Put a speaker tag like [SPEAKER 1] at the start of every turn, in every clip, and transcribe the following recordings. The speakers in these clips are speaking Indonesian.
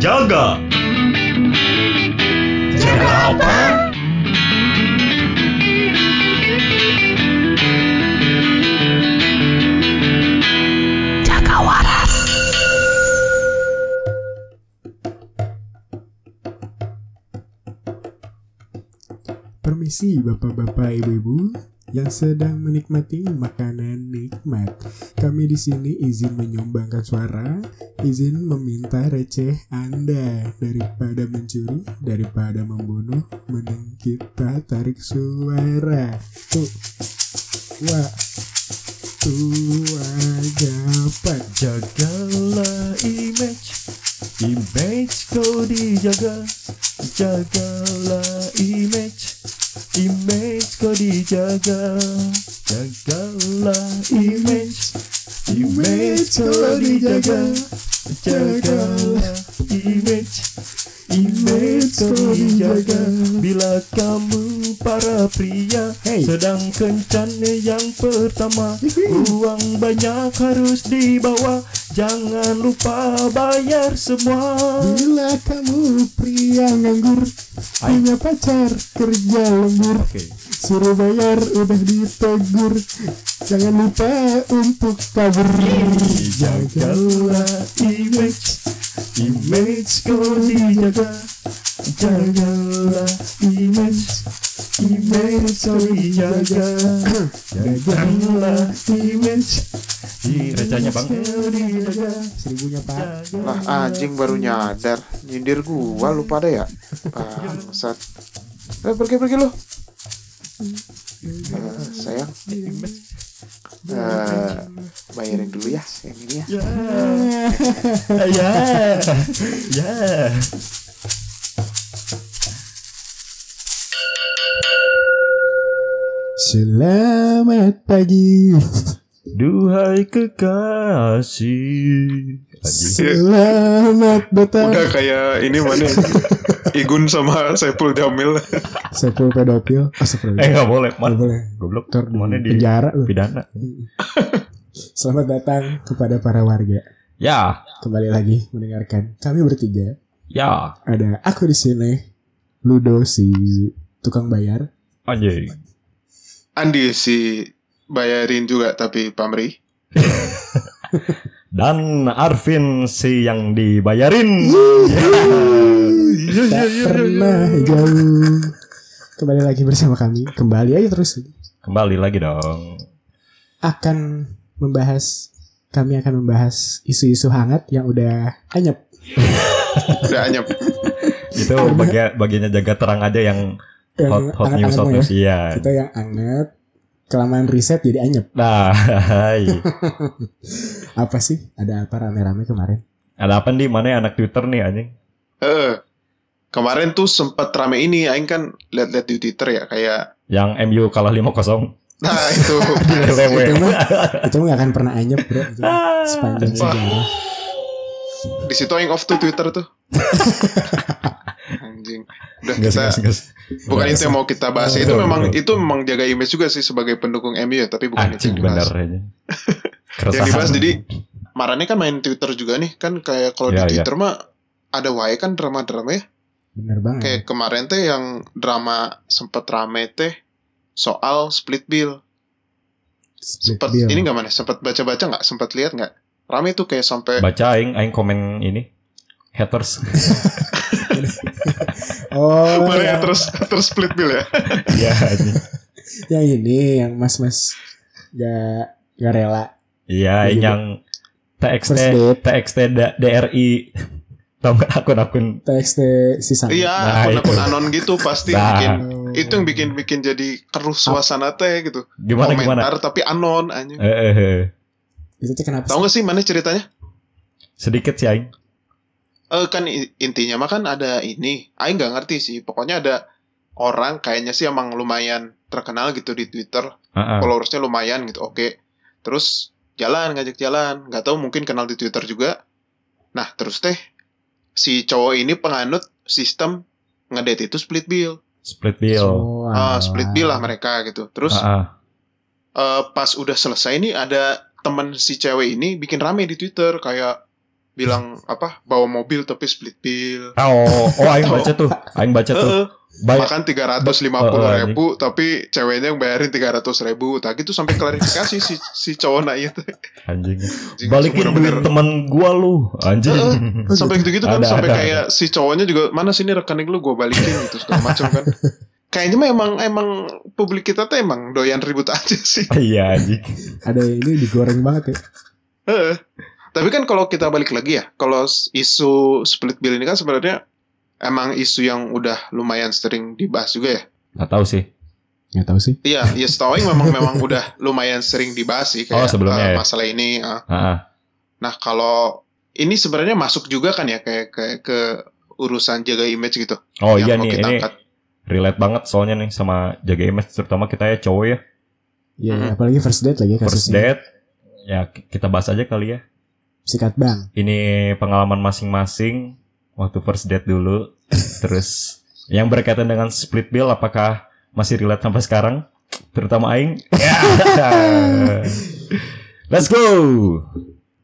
[SPEAKER 1] Jaga. Jaga apa?
[SPEAKER 2] Jaga waras.
[SPEAKER 3] Permisi bapak-bapak ibu-ibu yang sedang menikmati makanan nikmat. Kami di sini izin menyumbangkan suara, izin meminta receh Anda daripada mencuri, daripada membunuh, mending kita tarik suara. Tuh, wa, tua dapat.
[SPEAKER 1] Jagalah image. Image kau dijaga. Jagalah image. Image kau dijaga. Jagalah image. Image kau dijaga. Jagalah image. Image kau dijaga. Bila kamu para pria
[SPEAKER 3] Hey.
[SPEAKER 1] sedang kencan yang pertama, uang banyak harus dibawa. Jangan lupa bayar semua.
[SPEAKER 3] Bila kamu pria nganggur, punya pacar kerja lembur. Suruh bayar udah ditegur Jangan lupa untuk kabur
[SPEAKER 1] Jagalah image Image kau dijaga Jagalah image Image kau dijaga Jagalah image Recanya bang
[SPEAKER 3] Seribunya pak
[SPEAKER 4] Lah anjing baru nyadar Nyindir gua lu pada ya Bangsat Eh pergi pergi lu Eh, Sayang Eh, Bayarin dulu ya yang ini ya
[SPEAKER 1] Ya Ya Ya
[SPEAKER 3] Selamat pagi
[SPEAKER 1] Duhai kekasih
[SPEAKER 3] Selamat datang
[SPEAKER 5] Udah kayak ini mana Igun sama Saiful Jamil
[SPEAKER 3] Sepul pedofil Oh sepul
[SPEAKER 1] Eh gak boleh
[SPEAKER 3] Nggak
[SPEAKER 1] Man
[SPEAKER 3] boleh
[SPEAKER 1] Goblok
[SPEAKER 3] Ntar di
[SPEAKER 1] Mana di
[SPEAKER 3] penjara lu.
[SPEAKER 1] pidana
[SPEAKER 3] Selamat datang kepada para warga
[SPEAKER 1] Ya
[SPEAKER 3] Kembali lagi mendengarkan Kami bertiga
[SPEAKER 1] Ya
[SPEAKER 3] Ada aku di sini Ludo si tukang bayar
[SPEAKER 1] Anjing
[SPEAKER 5] Andi si bayarin juga tapi pamri
[SPEAKER 1] dan Arvin si yang dibayarin. Iya,
[SPEAKER 3] Tak pernah jauh Kembali lagi bersama kami Kembali aja terus
[SPEAKER 1] Kembali lagi dong.
[SPEAKER 3] Akan membahas Kami akan membahas isu-isu hangat yang udah anyep
[SPEAKER 5] Udah anyep
[SPEAKER 1] Itu bagia- bagiannya jaga terang aja yang hot
[SPEAKER 3] Yang
[SPEAKER 1] hot news
[SPEAKER 3] hangat-hangat
[SPEAKER 1] hot
[SPEAKER 3] mau
[SPEAKER 1] news iya.
[SPEAKER 3] Kita yang anget Kelamaan riset jadi anyep
[SPEAKER 1] Nah, hai.
[SPEAKER 3] Apa sih? Ada apa rame-rame kemarin?
[SPEAKER 1] ada apa nih? Mana anak Twitter nih anjing?
[SPEAKER 5] Heeh. Eh, Kemarin tuh sempat rame ini Aing kan lihat-lihat di Twitter ya kayak
[SPEAKER 1] Yang MU kalah 5-0
[SPEAKER 5] Nah itu
[SPEAKER 1] di TW.
[SPEAKER 3] Itu mah Itu mah gak akan pernah anyep bro Itu mah Sepanjang
[SPEAKER 5] Ah. Wah.
[SPEAKER 3] sejarah
[SPEAKER 5] Di situ Aing off tuh Twitter tuh Anjing Udah
[SPEAKER 1] Gas,
[SPEAKER 5] kita
[SPEAKER 1] gas, gas.
[SPEAKER 5] Bukan itu yang mau kita bahas ya. Itu
[SPEAKER 1] Betul,
[SPEAKER 5] memang
[SPEAKER 1] betul.
[SPEAKER 5] Itu memang jaga image juga sih Sebagai pendukung MU ya Tapi bukan itu
[SPEAKER 1] Anjing
[SPEAKER 5] yang dibahas.
[SPEAKER 1] bener aja.
[SPEAKER 5] Yang
[SPEAKER 1] Keresahan.
[SPEAKER 5] dibahas jadi Marane kan main Twitter juga nih Kan kayak kalau
[SPEAKER 1] Iya, Hmm.
[SPEAKER 5] di
[SPEAKER 1] iya.
[SPEAKER 5] Twitter mah Ada wae kan drama-drama ya
[SPEAKER 3] Bener banget
[SPEAKER 5] kayak kemarin teh yang drama sempet rame teh soal split bill
[SPEAKER 3] Split
[SPEAKER 5] sempet
[SPEAKER 3] bill.
[SPEAKER 5] ini nggak mana sempet baca baca nggak sempet lihat nggak rame tuh kayak sampai
[SPEAKER 1] baca aing aing komen ini haters.
[SPEAKER 3] Oh
[SPEAKER 5] Kemarin ya,
[SPEAKER 3] yang,
[SPEAKER 5] terus terus split bill ya
[SPEAKER 1] Iya anjing.
[SPEAKER 3] yang Ya, ini Yang mas-mas Gak Gak rela
[SPEAKER 1] Iya,
[SPEAKER 3] Iya,
[SPEAKER 1] yang
[SPEAKER 3] gitu. First
[SPEAKER 1] TXT
[SPEAKER 3] date.
[SPEAKER 1] TXT da- DRI tau nggak akun-akun
[SPEAKER 3] TXT si Sang.
[SPEAKER 5] iya
[SPEAKER 1] Nah,
[SPEAKER 5] akun akun
[SPEAKER 1] itu.
[SPEAKER 5] anon gitu pasti
[SPEAKER 1] Nah.
[SPEAKER 5] bikin
[SPEAKER 3] Oh.
[SPEAKER 5] itu yang bikin bikin jadi keruh suasana teh gitu
[SPEAKER 1] Ah. gimana gimana?
[SPEAKER 5] komentar tapi anon anjing
[SPEAKER 1] Eh, eh, eh.
[SPEAKER 3] Itu tuh kenapa
[SPEAKER 5] tahu nggak sih mana ceritanya
[SPEAKER 1] sedikit sih aing.
[SPEAKER 5] Eh kan i- intinya mah kan ada ini. Aing nggak ngerti sih. Pokoknya ada orang kayaknya sih emang lumayan terkenal gitu di Twitter.
[SPEAKER 1] Heeh.
[SPEAKER 5] followersnya lumayan gitu oke terus jalan ngajak jalan nggak tahu mungkin kenal di twitter juga nah terus teh si cowok ini penganut sistem ngedate itu split bill
[SPEAKER 1] Split Ah,
[SPEAKER 3] sih?
[SPEAKER 1] bill.
[SPEAKER 3] Oh,
[SPEAKER 5] Ah, split bill lah
[SPEAKER 3] alah.
[SPEAKER 5] mereka gitu terus
[SPEAKER 1] Heeh.
[SPEAKER 5] eh, pas udah selesai nih ada temen si cewek ini bikin rame di twitter kayak bilang apa bawa mobil tapi split bill
[SPEAKER 1] Ah, oh, oh, aing baca tuh, aing baca tuh.
[SPEAKER 5] Heeh,
[SPEAKER 1] Banyak
[SPEAKER 5] makan tiga ratus lima
[SPEAKER 1] Heeh, anjing.
[SPEAKER 5] ribu tapi ceweknya yang bayarin tiga ratus ribu tak itu sampai klarifikasi si si cowok nak itu
[SPEAKER 1] anjing. Balikin duit temen gua lu, anjing.
[SPEAKER 3] Oh,
[SPEAKER 5] sampai gitu gitu kan
[SPEAKER 1] Ada,
[SPEAKER 5] sampai
[SPEAKER 1] ada,
[SPEAKER 5] kayak si cowoknya juga mana sini rekening lu gue balikin gitu segala macam kan kayaknya mah emang emang publik kita tuh emang doyan ribut aja sih
[SPEAKER 1] Iya anjing.
[SPEAKER 3] Ada ini digoreng banget ya.
[SPEAKER 5] Heeh. tapi kan kalau kita balik lagi ya kalau s- isu split bill ini kan sebenarnya emang isu yang udah lumayan sering dibahas juga ya
[SPEAKER 1] Gak tahu sih.
[SPEAKER 3] Nggak tahu sih.
[SPEAKER 5] iya ya setahu yang memang memang udah lumayan sering dibahas sih
[SPEAKER 1] Oh,
[SPEAKER 5] kayak
[SPEAKER 1] sebelumnya
[SPEAKER 5] eh,
[SPEAKER 1] ya.
[SPEAKER 5] masalah ini eh.
[SPEAKER 1] Ah,
[SPEAKER 5] nah kalau ini sebenarnya masuk juga kan ya kayak kayak ke urusan jaga image gitu
[SPEAKER 1] ah. Oh iya
[SPEAKER 5] yang
[SPEAKER 1] nih, ini relate banget soalnya nih sama jaga image terutama kita ya cowok ya.
[SPEAKER 3] Ya,
[SPEAKER 5] Hmm.
[SPEAKER 3] apalagi first date lagi ya
[SPEAKER 1] First
[SPEAKER 3] kasusnya.
[SPEAKER 1] date ya ki- kita bahas aja kali ya.
[SPEAKER 3] Sikat bang.
[SPEAKER 1] Ini pengalaman masing-masing waktu first date dulu. Terus yang berkaitan dengan split bill apakah masih relate sampai sekarang? Terutama aing. Ya. Let's go.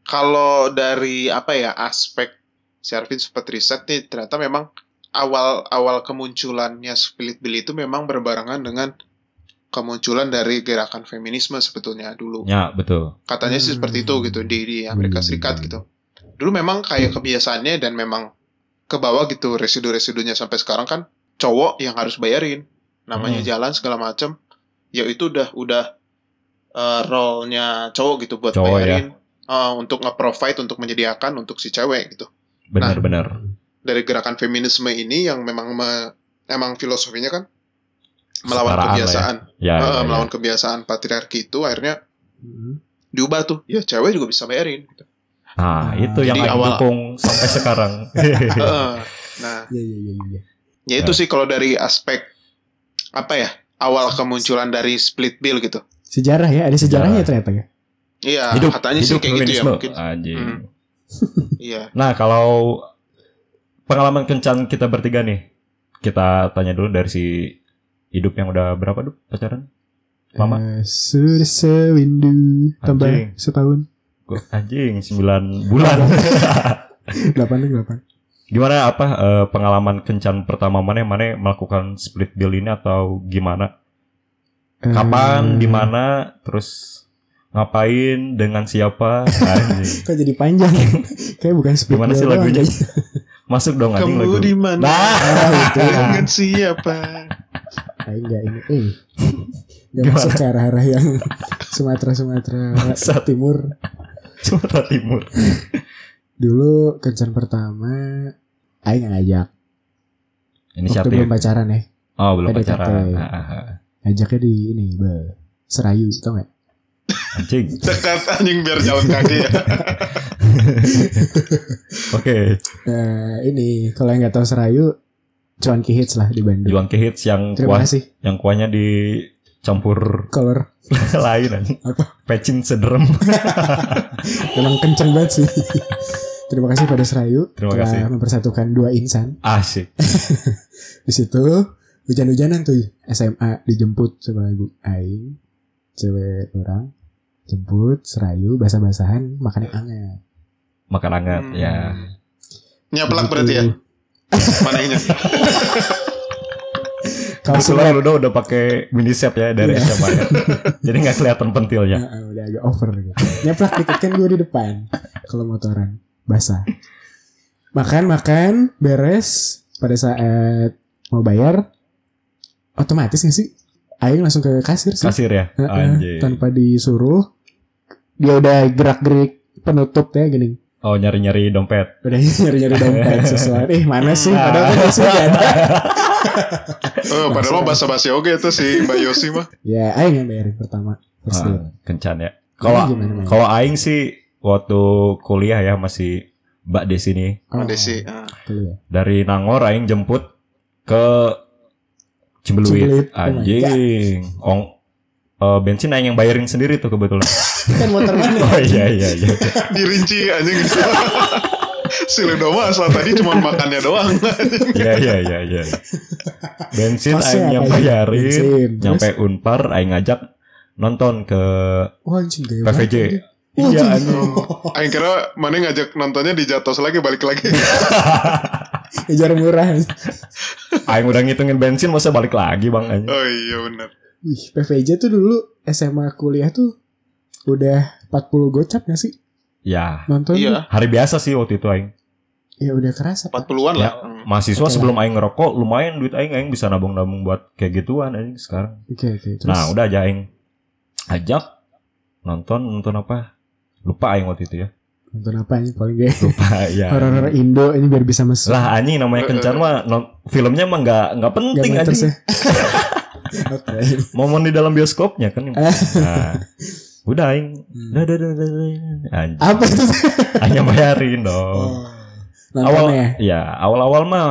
[SPEAKER 5] kalau dari apa ya aspek si Arvin sempat riset nih ternyata memang awal awal kemunculannya split bill itu memang berbarengan dengan kemunculan dari gerakan feminisme sebetulnya dulu
[SPEAKER 1] Ya, betul.
[SPEAKER 5] katanya sih
[SPEAKER 3] Hmm.
[SPEAKER 5] seperti itu gitu di di Amerika
[SPEAKER 3] Hmm.
[SPEAKER 5] Serikat gitu dulu memang kayak kebiasaannya dan memang ke bawah gitu residu-residunya sampai sekarang kan cowok yang harus bayarin namanya
[SPEAKER 1] Hmm.
[SPEAKER 5] jalan segala macam ya itu udah udah eh, role-nya cowok gitu buat
[SPEAKER 1] Cowok, ya.
[SPEAKER 5] bayarin Eh, untuk nge-provide untuk menyediakan untuk si cewek gitu
[SPEAKER 1] Benar-benar.
[SPEAKER 5] dari gerakan feminisme ini yang memang me- emang filosofinya kan
[SPEAKER 1] Kesetaraan
[SPEAKER 5] melawan
[SPEAKER 1] lah ya.
[SPEAKER 5] kebiasaan
[SPEAKER 1] ya, ya,
[SPEAKER 5] Eh,
[SPEAKER 1] ya.
[SPEAKER 5] melawan kebiasaan patriarki itu akhirnya
[SPEAKER 3] Hmm.
[SPEAKER 5] diubah tuh ya cewek juga bisa bayarin gitu.
[SPEAKER 1] Nah, itu yang
[SPEAKER 5] Jadi
[SPEAKER 1] aing
[SPEAKER 5] awal-
[SPEAKER 1] dukung sampai sekarang. Iya.
[SPEAKER 5] Heeh. nah
[SPEAKER 3] Iya iya iya iya.
[SPEAKER 5] Ya itu sih kalau dari aspek apa ya awal kemunculan dari split bill gitu.
[SPEAKER 3] Sejarah ya, ada sejarahnya ternyata ya.
[SPEAKER 5] Iya katanya sih kayak
[SPEAKER 1] feminisme.
[SPEAKER 5] gitu ya
[SPEAKER 1] Ah.
[SPEAKER 5] mungkin.
[SPEAKER 1] Anjing.
[SPEAKER 5] Hmm. Iya.
[SPEAKER 1] Nah, kalau pengalaman kencan kita bertiga nih, kita tanya dulu dari si hidup yang udah berapa Dup, pacaran? Lama.
[SPEAKER 3] Eh, sudah sewindu tambah
[SPEAKER 1] Anjing.
[SPEAKER 3] setahun.
[SPEAKER 1] Gua- anjing, 9 bulan.
[SPEAKER 3] Delapan nih delapan.
[SPEAKER 1] gimana apa eh, pengalaman kencan pertama mana yang mana melakukan split bill ini atau gimana?
[SPEAKER 3] Eh,
[SPEAKER 1] Kapan, di mana, terus ngapain dengan siapa? Anjing.
[SPEAKER 3] Kok jadi panjang? Kayak bukan split
[SPEAKER 1] Gimana
[SPEAKER 3] bill
[SPEAKER 1] sih
[SPEAKER 3] doang,
[SPEAKER 1] lagunya?
[SPEAKER 3] kayaknya.
[SPEAKER 1] Masuk dong anjing
[SPEAKER 5] Kamu
[SPEAKER 1] lagu.
[SPEAKER 5] di mana?
[SPEAKER 1] Nah,
[SPEAKER 3] Ah, itu.
[SPEAKER 5] Dengan siapa?
[SPEAKER 3] Ah, enggak ini. Eh. Gak
[SPEAKER 1] Gimana?
[SPEAKER 3] masuk ke arah-arah yang Sumatera-Sumatera
[SPEAKER 1] Bangsat.
[SPEAKER 3] Timur.
[SPEAKER 1] Sumatera Timur.
[SPEAKER 3] Dulu kencan pertama Aing ngajak
[SPEAKER 1] Ini
[SPEAKER 3] Waktu belum pacaran ya
[SPEAKER 1] Oh, belum
[SPEAKER 3] PDKT.
[SPEAKER 1] pacaran. Ah, ah, ah.
[SPEAKER 3] Ngajaknya di ini be, Serayu tau gak?
[SPEAKER 1] Anjing.
[SPEAKER 5] Dekat anjing biar jalan kaki ya.
[SPEAKER 1] Oke,
[SPEAKER 3] Eh, ini kalau yang gak tahu Serayu Cuan Ki Hits lah di Bandung
[SPEAKER 1] Juang ke hits yang
[SPEAKER 3] Terima
[SPEAKER 1] kuah
[SPEAKER 3] kasih
[SPEAKER 1] yang kuahnya dicampur
[SPEAKER 3] Color
[SPEAKER 1] lain anjing.
[SPEAKER 3] Apa?
[SPEAKER 1] Pecin sederem.
[SPEAKER 3] Memang kenceng banget sih Terima kasih pada Serayu
[SPEAKER 1] Terima
[SPEAKER 3] telah
[SPEAKER 1] kasih.
[SPEAKER 3] mempersatukan dua insan
[SPEAKER 1] Asik.
[SPEAKER 3] di situ hujan-hujanan tuh SMA dijemput sama ibu Aing cewek orang jemput Serayu basah-basahan makannya anget
[SPEAKER 1] Makan hangat
[SPEAKER 5] Hmm.
[SPEAKER 1] ya. Gitu.
[SPEAKER 5] Nyaplak berarti ya. Mananya.
[SPEAKER 3] Kalsel
[SPEAKER 1] Kebetulan udah udah pakai mini set ya dari
[SPEAKER 3] Iya.
[SPEAKER 1] SMA ya. Jadi nggak kelihatan pentilnya.
[SPEAKER 3] Nah, udah agak over gitu. Nyeplak dikit kan gue di depan. Kalau motoran basah. Makan makan beres pada saat mau bayar otomatis nggak sih? Aing langsung ke kasir sih.
[SPEAKER 1] Kasir ya.
[SPEAKER 3] Heeh, kan.
[SPEAKER 1] Anjing.
[SPEAKER 3] tanpa disuruh dia udah gerak gerik penutup ya gini.
[SPEAKER 1] Oh, nyari-nyari dompet.
[SPEAKER 3] Udah nyari nyari dompet sesuatu. Eh mana sih?
[SPEAKER 1] Ah.
[SPEAKER 3] Padahal kan biasanya nggak ada.
[SPEAKER 5] Oh, padahal mah bahasa basi oke itu si Mbak Yosi mah.
[SPEAKER 3] Ya Aing yang bayarin pertama. First
[SPEAKER 1] Ah,
[SPEAKER 3] date.
[SPEAKER 1] kencan ya.
[SPEAKER 3] Ini
[SPEAKER 1] Kalau
[SPEAKER 3] gimana, Mang?
[SPEAKER 1] kalau aing sih waktu kuliah ya masih Mbak di sini
[SPEAKER 3] Oh,
[SPEAKER 5] Ada sih. ah.
[SPEAKER 3] dulu ya.
[SPEAKER 1] dari Nangor aing jemput ke Cimbeluit
[SPEAKER 3] Cimbeluit, oh my
[SPEAKER 1] anjing
[SPEAKER 3] Oh
[SPEAKER 1] ong eh, bensin aing yang bayarin sendiri tuh kebetulan
[SPEAKER 3] Kan motor mana?
[SPEAKER 1] oh iya iya iya
[SPEAKER 5] Dirinci anjing. si Ludoma asal tadi cuma makannya doang.
[SPEAKER 1] iya iya iya iya bensin
[SPEAKER 3] Kosnya
[SPEAKER 1] aing yang
[SPEAKER 3] apa ya? Bensin.
[SPEAKER 1] bayarin
[SPEAKER 3] Terus?
[SPEAKER 1] nyampe Unpar aing ngajak nonton ke
[SPEAKER 3] Wah anjing gaya banget.
[SPEAKER 1] PVJ Iya,
[SPEAKER 3] Wah,
[SPEAKER 1] anjing.
[SPEAKER 5] Aing kira mana ngajak nontonnya di Jatos lagi balik lagi.
[SPEAKER 3] Ngejar murah.
[SPEAKER 1] Aing udah ngitungin bensin masa balik lagi bang anjing.
[SPEAKER 5] oh iya benar.
[SPEAKER 3] Ih, PVJ tuh dulu SMA kuliah tuh udah 40 gocap gak sih
[SPEAKER 1] Ya
[SPEAKER 3] nonton?
[SPEAKER 5] Iya,
[SPEAKER 3] tuh?
[SPEAKER 1] hari biasa sih waktu itu Aing.
[SPEAKER 3] Ya udah kerasa. Pak.
[SPEAKER 5] 40-an
[SPEAKER 1] Ya,
[SPEAKER 5] lah. Hmm.
[SPEAKER 1] mahasiswa
[SPEAKER 3] Oke lah.
[SPEAKER 1] sebelum Aing ngerokok lumayan duit Aing Aing bisa nabung-nabung buat kayak gituan Aing sekarang.
[SPEAKER 3] Oke oke. Terus
[SPEAKER 1] Nah udah aja Aing ajak nonton nonton apa? Lupa Aing waktu itu ya.
[SPEAKER 3] nonton apa ini paling gak
[SPEAKER 1] Lupa ya.
[SPEAKER 3] horor Indo ini biar bisa masuk.
[SPEAKER 1] Lah anjing namanya kencan mah non- filmnya mah nggak nggak
[SPEAKER 3] Gak
[SPEAKER 1] penting
[SPEAKER 3] matters
[SPEAKER 1] anjing.
[SPEAKER 3] ya. Oke. Eh,
[SPEAKER 1] Momen di dalam bioskopnya kan. yang- Nah, udah aing.
[SPEAKER 3] Hmm.
[SPEAKER 1] Dah dah dah dah. dah. Anjing.
[SPEAKER 3] Apa itu?
[SPEAKER 1] Hanya bayarin dong.
[SPEAKER 3] Oh.
[SPEAKER 1] awal
[SPEAKER 3] Nontonnya.
[SPEAKER 1] ya awal-awal mah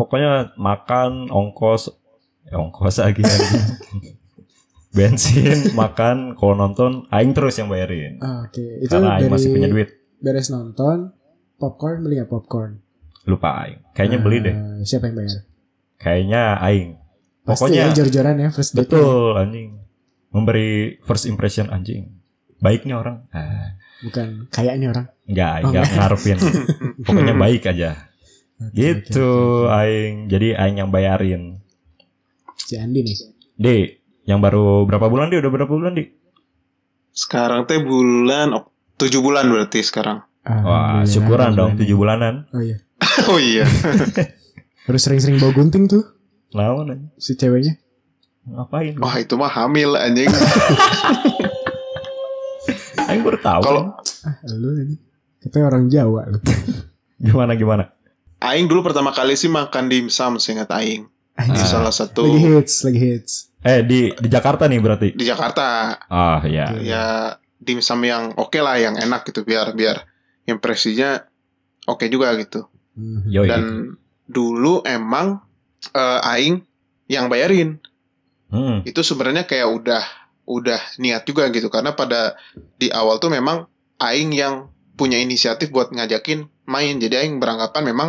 [SPEAKER 1] pokoknya makan ongkos ya, ongkos lagi anjing. bensin makan kalau nonton aing terus yang bayarin
[SPEAKER 3] Oh, Oke, itu
[SPEAKER 1] karena aing
[SPEAKER 3] dari
[SPEAKER 1] masih punya duit
[SPEAKER 3] beres nonton popcorn beli nggak popcorn?
[SPEAKER 1] lupa aing kayaknya beli deh
[SPEAKER 3] Eh, Siapa yang bayar?
[SPEAKER 1] kayaknya aing
[SPEAKER 3] Pasti
[SPEAKER 1] Pokoknya-
[SPEAKER 3] ya, jor-joran ya first date.
[SPEAKER 1] betul anjing memberi first impression anjing baiknya orang ah.
[SPEAKER 3] Bukan kayaknya orang.
[SPEAKER 1] Enggak,
[SPEAKER 3] Oh,
[SPEAKER 1] enggak
[SPEAKER 3] enggak.
[SPEAKER 1] ngarepin. Pokoknya baik aja.
[SPEAKER 3] Oke,
[SPEAKER 1] Gitu
[SPEAKER 3] oke, oke.
[SPEAKER 1] aing. Jadi aing yang bayarin.
[SPEAKER 3] Si Andi nih.
[SPEAKER 1] Di, yang baru berapa bulan di? Udah berapa bulan di?
[SPEAKER 5] Sekarang teh bulan ok, 7 bulan berarti sekarang.
[SPEAKER 1] Wah,
[SPEAKER 3] Alhamdulillah,
[SPEAKER 1] syukuran dong
[SPEAKER 3] alhamdulillah.
[SPEAKER 1] 7 bulanan.
[SPEAKER 3] Oh iya.
[SPEAKER 5] oh iya.
[SPEAKER 3] Harus sering-sering bawa gunting tuh
[SPEAKER 1] Lawan anjing.
[SPEAKER 3] si ceweknya.
[SPEAKER 1] Ngapain?
[SPEAKER 5] Wah, itu mah hamil anjing.
[SPEAKER 1] Aing baru tahu.
[SPEAKER 5] Kalau
[SPEAKER 3] Ah, lu ini. Katanya orang Jawa
[SPEAKER 1] Nah,
[SPEAKER 3] lu.
[SPEAKER 1] gimana gimana?
[SPEAKER 5] aing dulu pertama kali sih makan dimsum seingat aing. Di
[SPEAKER 3] Anjing.
[SPEAKER 5] salah satu
[SPEAKER 3] Lagi hits, lagi hits.
[SPEAKER 1] Eh, di di Jakarta nih berarti.
[SPEAKER 5] di Jakarta.
[SPEAKER 1] Ah, ya.
[SPEAKER 5] Ya dimsum yang oke lah, yang enak gitu biar biar impresinya oke juga gitu.
[SPEAKER 3] Mhm.
[SPEAKER 1] Yoi.
[SPEAKER 5] Dan dulu emang eh, aing yang bayarin.
[SPEAKER 1] Hmm.
[SPEAKER 5] itu sebenarnya kayak udah udah niat juga gitu karena pada di awal tuh memang aing yang punya inisiatif buat ngajakin main jadi aing beranggapan memang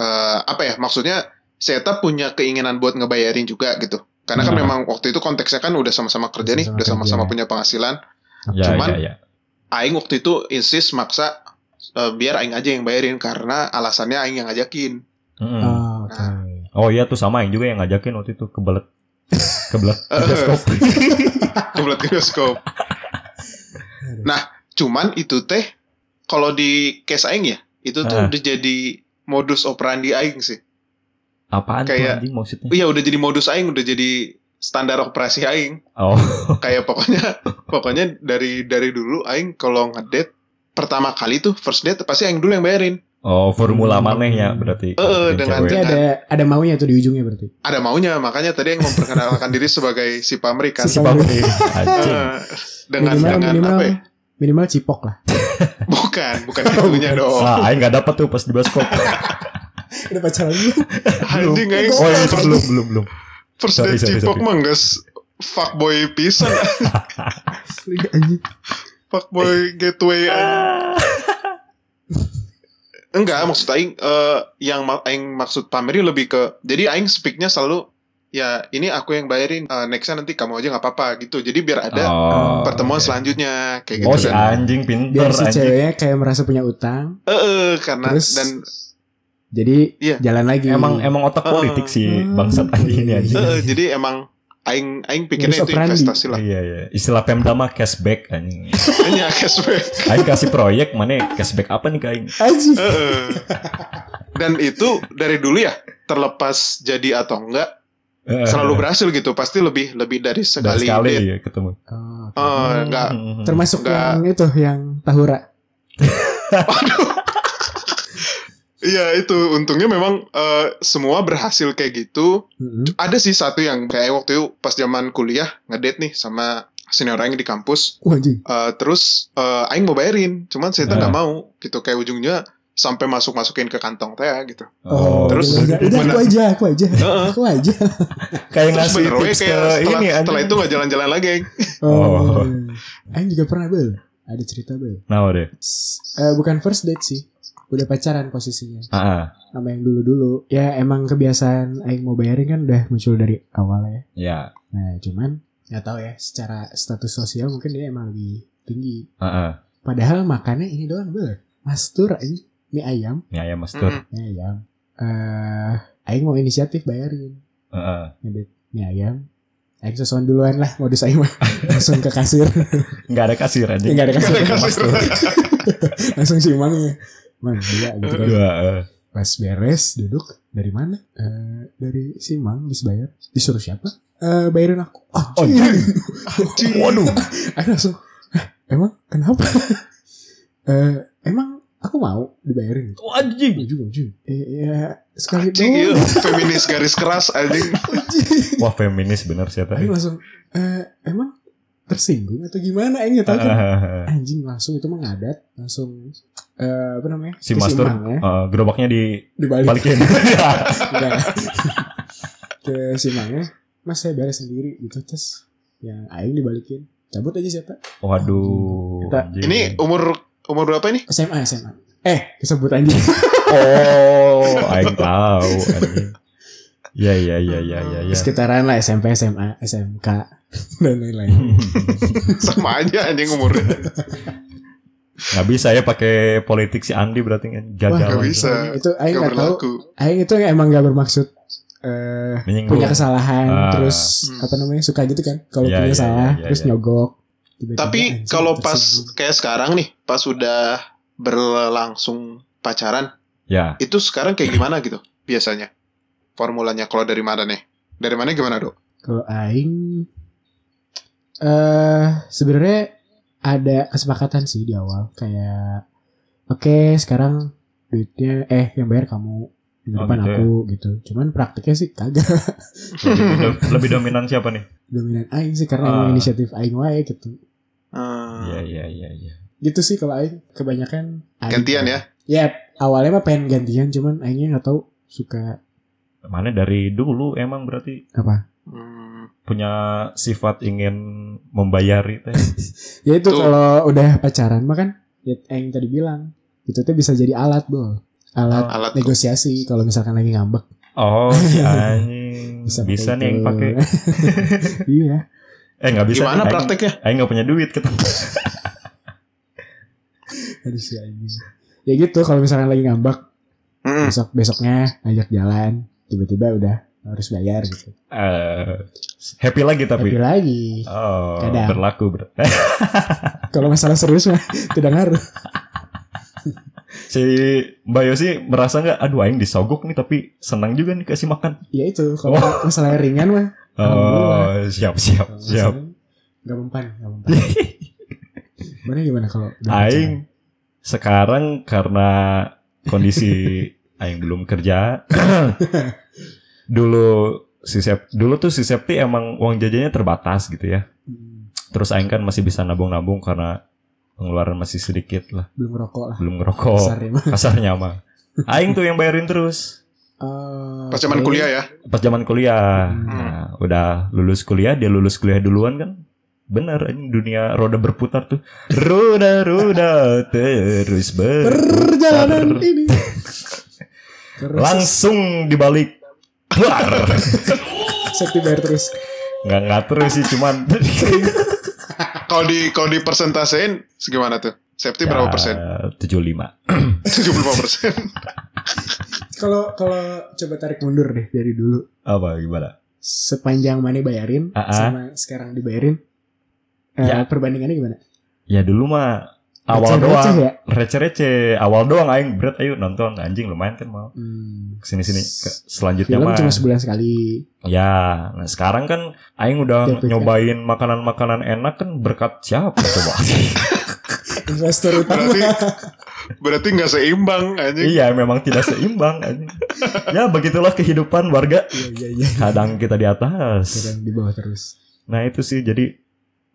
[SPEAKER 5] eh, apa ya maksudnya Seta punya keinginan buat ngebayarin juga gitu karena kan
[SPEAKER 1] Nah.
[SPEAKER 5] memang waktu itu konteksnya kan udah sama-sama kerja nih
[SPEAKER 3] Hmm. Sama-sama
[SPEAKER 5] udah sama-sama
[SPEAKER 3] kerja.
[SPEAKER 5] punya penghasilan
[SPEAKER 1] Ya,
[SPEAKER 5] Cuman-
[SPEAKER 1] ya, ya.
[SPEAKER 5] aing waktu itu insist maksa eh, biar aing aja yang bayarin karena alasannya aing yang ngajakin hmm.
[SPEAKER 1] Mm-mm.
[SPEAKER 3] Oh, Oke.
[SPEAKER 1] Hmm. Oh iya tuh sama yang juga yang ngajakin waktu itu kebelet. kebelet
[SPEAKER 5] Eh,
[SPEAKER 1] bioskop.
[SPEAKER 5] kebelet ke bioskop Nah, cuman itu teh kalau di case aing ya itu tuh
[SPEAKER 1] Ah.
[SPEAKER 5] udah jadi modus operandi aing sih
[SPEAKER 1] Apaan
[SPEAKER 5] Kayak-
[SPEAKER 1] tuh anjing maksudnya?
[SPEAKER 5] iya udah jadi modus aing udah jadi standar operasi aing
[SPEAKER 1] Oh,
[SPEAKER 5] kayak pokoknya pokoknya dari dari dulu aing kalau ngedate pertama kali tuh first date pasti aing dulu yang bayarin
[SPEAKER 1] oh formula manehnya berarti.
[SPEAKER 5] Eh,
[SPEAKER 1] Yang
[SPEAKER 5] eh, dengan-
[SPEAKER 1] cewek.
[SPEAKER 3] Nanti ada ada maunya tuh di ujungnya berarti.
[SPEAKER 5] ada maunya makanya tadi yang memperkenalkan diri sebagai si pamri kan
[SPEAKER 3] Si
[SPEAKER 1] Coba gue anjing.
[SPEAKER 5] Eh, dengan
[SPEAKER 3] minimal
[SPEAKER 5] dengan
[SPEAKER 3] minimal
[SPEAKER 5] apa ya?
[SPEAKER 3] minimal cipok lah.
[SPEAKER 5] bukan bukan itunya dong
[SPEAKER 1] Nah, aing gak dapet tuh pas di bioskop.
[SPEAKER 3] Udah pacaran lu.
[SPEAKER 5] anjing aing
[SPEAKER 1] Oh, ini tuh belum belum belum.
[SPEAKER 5] first
[SPEAKER 1] Sorry,
[SPEAKER 5] date
[SPEAKER 1] sorry,
[SPEAKER 5] cipok
[SPEAKER 1] sorry.
[SPEAKER 5] mah geus fuckboy pisan
[SPEAKER 3] Anjing.
[SPEAKER 5] fuckboy gateway anjing. Enggak, maksud aing eh, yang ma- aing maksud pamerin lebih ke jadi aing speaknya selalu ya ini aku yang bayarin eh, nextnya nanti kamu aja nggak apa-apa gitu. Jadi biar ada
[SPEAKER 1] Oh,
[SPEAKER 5] pertemuan
[SPEAKER 1] oke.
[SPEAKER 5] selanjutnya kayak gitu
[SPEAKER 1] Oh, si
[SPEAKER 5] kan.
[SPEAKER 1] anjing pinter
[SPEAKER 3] Biar si
[SPEAKER 1] anjing.
[SPEAKER 3] ceweknya kayak merasa punya utang,
[SPEAKER 5] Eh, eh, karena
[SPEAKER 3] Terus,
[SPEAKER 5] dan
[SPEAKER 3] jadi
[SPEAKER 5] Iya.
[SPEAKER 3] jalan lagi.
[SPEAKER 1] Emang emang otak
[SPEAKER 5] Heeh.
[SPEAKER 1] politik si bangsat
[SPEAKER 3] Hmm.
[SPEAKER 1] anjing ini anjing.
[SPEAKER 5] eh, eh, jadi emang aing aing pikirnya
[SPEAKER 3] Modus
[SPEAKER 5] itu
[SPEAKER 3] operandi.
[SPEAKER 5] investasi lah.
[SPEAKER 1] Iya iya. Istilah Pemda mah cashback anjing.
[SPEAKER 5] Hanya cashback.
[SPEAKER 1] Aing kasih proyek mana cashback apa nih ke aing?
[SPEAKER 3] Anjing.
[SPEAKER 5] Eh, eh. Dan itu dari dulu ya terlepas jadi atau enggak
[SPEAKER 1] Eh,
[SPEAKER 5] selalu berhasil gitu. Pasti lebih lebih dari
[SPEAKER 1] dan
[SPEAKER 5] sekali,
[SPEAKER 1] sekali
[SPEAKER 5] date.
[SPEAKER 1] ya, ketemu.
[SPEAKER 3] Oh, oke.
[SPEAKER 5] Eh, enggak
[SPEAKER 1] Hmm.
[SPEAKER 3] Termasuk
[SPEAKER 5] Enggak.
[SPEAKER 3] yang itu yang tahura.
[SPEAKER 5] Iya itu untungnya memang eh, semua berhasil kayak gitu.
[SPEAKER 3] Mm-mm.
[SPEAKER 5] Ada sih satu yang kayak waktu itu pas zaman kuliah ngedate nih sama senior aing di kampus.
[SPEAKER 3] Wah, anjing.
[SPEAKER 5] Eh, terus eh, aing mau bayarin, cuman saya
[SPEAKER 1] Nah.
[SPEAKER 5] nggak mau gitu kayak ujungnya sampai masuk masukin ke kantong teh gitu.
[SPEAKER 1] Oh,
[SPEAKER 5] terus-
[SPEAKER 1] gitu.
[SPEAKER 3] udah, udah, udah, aku
[SPEAKER 5] bener.
[SPEAKER 3] aja, aku aja,
[SPEAKER 5] Heeh.
[SPEAKER 3] aku aja.
[SPEAKER 1] kayak
[SPEAKER 5] Terus
[SPEAKER 1] ngasih
[SPEAKER 5] bener
[SPEAKER 1] tips
[SPEAKER 5] we
[SPEAKER 1] ke
[SPEAKER 5] kayak setelah,
[SPEAKER 1] ini
[SPEAKER 5] setelah
[SPEAKER 1] anjing.
[SPEAKER 5] itu nggak jalan-jalan lagi. Aing.
[SPEAKER 1] Oh.
[SPEAKER 3] Oh, Aing juga pernah bel, ada cerita bel.
[SPEAKER 1] Nah, udah.
[SPEAKER 3] S- eh, bukan first date sih, udah pacaran posisinya.
[SPEAKER 1] Heeh.
[SPEAKER 3] Sama yang dulu-dulu, ya emang kebiasaan Aing mau bayarin kan udah muncul dari awal ya.
[SPEAKER 1] Ya. ah,
[SPEAKER 3] Nah, cuman nggak tahu ya, secara status sosial mungkin dia emang lebih tinggi.
[SPEAKER 1] Heeh.
[SPEAKER 3] Padahal makannya ini doang bel. Mastur aja mie ayam,
[SPEAKER 1] Mie ayam Ya, mas Tur.
[SPEAKER 5] Mm-mm.
[SPEAKER 3] mie ayam. Eh, aing mau inisiatif bayarin
[SPEAKER 1] Heeh.
[SPEAKER 3] ngedit mie ayam. Aing sesuatu duluan lah modus aing mah. Langsung ke kasir.
[SPEAKER 1] Nggak ada kasir aja.
[SPEAKER 3] Enggak ada kasir.
[SPEAKER 5] Nggak ada kasir.
[SPEAKER 3] Langsung si Mangnya. Mang dua gitu kan.
[SPEAKER 1] Dua. eh.
[SPEAKER 3] Pas beres duduk dari mana? Eh, dari si Mang bis bayar. Disuruh siapa? Eh, bayarin aku. Ah,
[SPEAKER 1] Oh,
[SPEAKER 3] iya.
[SPEAKER 1] Waduh.
[SPEAKER 3] Aku langsung, "Hah, emang kenapa? Eh, emang aku mau dibayarin gitu.
[SPEAKER 1] Tuh, Anjing.
[SPEAKER 3] Iya juga, cuy. Eh, ya, sekali
[SPEAKER 5] Anjing, iya.
[SPEAKER 3] doang.
[SPEAKER 5] Feminis garis keras anjing.
[SPEAKER 1] Iya.
[SPEAKER 3] Anjing.
[SPEAKER 1] Wah feminis bener sih
[SPEAKER 3] Aku
[SPEAKER 1] tadi.
[SPEAKER 3] langsung, eh, emang tersinggung atau gimana? Aing nggak
[SPEAKER 1] Ah,
[SPEAKER 3] tahu kan.
[SPEAKER 1] Heeh.
[SPEAKER 3] Anjing langsung itu mengadat. Langsung, eh, apa namanya?
[SPEAKER 1] Si
[SPEAKER 3] Ke
[SPEAKER 1] Mastur
[SPEAKER 3] Mang ya,
[SPEAKER 1] eh, gerobaknya
[SPEAKER 3] dibalik.
[SPEAKER 1] dibalikin.
[SPEAKER 3] Enggak. ke si Mangnya, mas saya beres sendiri gitu. Terus, yang Aing dibalikin. Cabut aja siapa?
[SPEAKER 1] Waduh.
[SPEAKER 3] Kita-
[SPEAKER 1] anjing.
[SPEAKER 5] Ini umur umur berapa ini?
[SPEAKER 3] SMA, SMA. Eh, kesebut anjing.
[SPEAKER 1] Oh, aing tahu. anjing. Ya ya ya ya ya ya.
[SPEAKER 3] sekitaran lah SMP, SMA, SMK dan lain-lain.
[SPEAKER 5] Sama aja anjing umurnya.
[SPEAKER 1] Gak bisa ya pakai politik si Andi berarti kan gagal.
[SPEAKER 5] nggak bisa.
[SPEAKER 3] Itu aing
[SPEAKER 5] Gak
[SPEAKER 3] nggak tahu.
[SPEAKER 5] berlaku.
[SPEAKER 3] Aing itu emang gak bermaksud eh
[SPEAKER 1] Menyinggung.
[SPEAKER 3] punya kesalahan
[SPEAKER 1] Ah.
[SPEAKER 3] terus
[SPEAKER 5] Hmm.
[SPEAKER 3] apa namanya suka gitu kan kalau
[SPEAKER 1] Ya,
[SPEAKER 3] punya
[SPEAKER 1] ya,
[SPEAKER 3] salah
[SPEAKER 1] ya, ya,
[SPEAKER 3] terus
[SPEAKER 1] ya.
[SPEAKER 3] nyogok. Tiba-tiba,
[SPEAKER 1] Gitu
[SPEAKER 5] Tapi
[SPEAKER 3] anjing,
[SPEAKER 5] kalau pas
[SPEAKER 3] tersinggung.
[SPEAKER 5] kayak sekarang nih, pas udah berlangsung pacaran,
[SPEAKER 1] Ya,
[SPEAKER 5] itu sekarang kayak gimana gitu biasanya? Formulanya kalau dari mana nih? Dari mana gimana, Dok?
[SPEAKER 3] kalau aing eh sebenarnya ada kesepakatan sih di awal kayak oke sekarang duitnya eh yang bayar kamu minggu
[SPEAKER 1] Oh,
[SPEAKER 3] depan
[SPEAKER 1] gitu ya.
[SPEAKER 3] aku gitu cuman praktiknya sih kagak
[SPEAKER 1] lebih,
[SPEAKER 5] Eh,
[SPEAKER 1] do- lebih dominan siapa nih?
[SPEAKER 3] dominan aing sih karena
[SPEAKER 1] Ah.
[SPEAKER 3] emang inisiatif aing wae gitu.
[SPEAKER 1] Ya
[SPEAKER 5] Hmm,
[SPEAKER 1] ya ya ya.
[SPEAKER 3] Gitu sih kalau aing kebanyakan aing.
[SPEAKER 5] gantian ya.
[SPEAKER 3] Yep, awalnya mah pengen gantian cuman aingnya nggak tahu suka
[SPEAKER 1] Mana dari dulu emang berarti
[SPEAKER 3] apa.
[SPEAKER 5] Hmm.
[SPEAKER 1] punya sifat ingin membayari teh.
[SPEAKER 3] Ya itu
[SPEAKER 5] Tuh.
[SPEAKER 3] kalau udah pacaran mah kan ya aing tadi bilang itu tuh bisa jadi alat, Bol. Alat
[SPEAKER 5] alat kok.
[SPEAKER 3] negosiasi kalau misalkan lagi ngambek
[SPEAKER 1] Oh, si anjing. Bisa,
[SPEAKER 3] pakai
[SPEAKER 1] nih yang
[SPEAKER 3] itu.
[SPEAKER 1] pakai.
[SPEAKER 3] iya.
[SPEAKER 1] Eh nggak bisa.
[SPEAKER 5] Gimana
[SPEAKER 1] nih, aing-
[SPEAKER 5] prakteknya?
[SPEAKER 1] Aing nggak punya duit kata.
[SPEAKER 3] Harus ya ini. Ya gitu kalau misalkan lagi ngambek
[SPEAKER 5] Hmm.
[SPEAKER 3] besok besoknya ngajak jalan tiba-tiba udah harus bayar gitu.
[SPEAKER 1] Eh, happy lagi
[SPEAKER 3] Tapi
[SPEAKER 1] tapi.
[SPEAKER 3] lagi
[SPEAKER 1] Oh,
[SPEAKER 3] Kadang.
[SPEAKER 1] berlaku ber.
[SPEAKER 3] kalau masalah serius mah tidak ngaruh.
[SPEAKER 1] si Mbak Yosi merasa nggak aduh aing disogok nih tapi senang juga nih kasih makan
[SPEAKER 3] Ya itu kalau masalah ringan mah
[SPEAKER 1] oh
[SPEAKER 3] Alhamdulillah.
[SPEAKER 1] siap siap
[SPEAKER 3] kalau
[SPEAKER 1] siap
[SPEAKER 3] masalah- Gak mempan, gak mempan. Mana gimana kalau udah
[SPEAKER 1] aing sekarang karena kondisi aing belum kerja dulu si Sep- dulu tuh si Septi emang uang jajannya terbatas gitu ya
[SPEAKER 3] pacaran? Hmm,
[SPEAKER 1] terus aing kan masih bisa nabung-nabung karena pengeluaran masih sedikit lah
[SPEAKER 3] belum ngerokok lah.
[SPEAKER 1] belum
[SPEAKER 3] Oh.
[SPEAKER 1] ngerokok kasarnya mah aing tuh yang bayarin terus
[SPEAKER 3] Eh,
[SPEAKER 5] Pas zaman kuliah ya.
[SPEAKER 1] pas zaman kuliah.
[SPEAKER 3] Hmm.
[SPEAKER 1] Nah, udah lulus kuliah, dia lulus kuliah duluan kan. Bener, ini dunia roda berputar tuh. Roda, roda, terus ber...
[SPEAKER 3] Perjalanan ini. Terus
[SPEAKER 1] Langsung dibalik. Buar.
[SPEAKER 3] Sakti bayar terus.
[SPEAKER 1] Nggak, nggak terus sih, cuman...
[SPEAKER 5] Kalau di kalau di persentasein segimana tuh? Safety berapa persen?
[SPEAKER 1] Ya, 75.
[SPEAKER 5] 75 persen.
[SPEAKER 3] Kalau kalau coba tarik mundur deh dari dulu.
[SPEAKER 1] Apa, gimana?
[SPEAKER 3] Sepanjang mana bayarin
[SPEAKER 1] Ah, ah.
[SPEAKER 3] sama sekarang dibayarin. eh,
[SPEAKER 1] Ya.
[SPEAKER 3] perbandingannya gimana?
[SPEAKER 1] Ya dulu mah awal
[SPEAKER 3] Receh-receh
[SPEAKER 1] doang.
[SPEAKER 3] ya?
[SPEAKER 1] Receh-receh. Awal doang aing berat ayo nonton. Anjing lumayan kan mau.
[SPEAKER 3] Hmm,
[SPEAKER 1] Kesini-sini. Ke- Selanjutnya
[SPEAKER 3] film
[SPEAKER 1] mah.
[SPEAKER 3] cuma sebulan sekali.
[SPEAKER 1] Ya, nah sekarang kan Aing udah
[SPEAKER 3] Jatuh,
[SPEAKER 1] nyobain makanan-makanan enak kan berkat siapa coba?
[SPEAKER 3] Investor utama.
[SPEAKER 5] Berarti berarti nggak seimbang anjing.
[SPEAKER 1] iya, memang tidak seimbang. anjing. ya begitulah kehidupan warga.
[SPEAKER 3] Iya iya iya.
[SPEAKER 1] Kadang kita di atas.
[SPEAKER 3] Kadang di bawah terus.
[SPEAKER 1] Nah itu sih jadi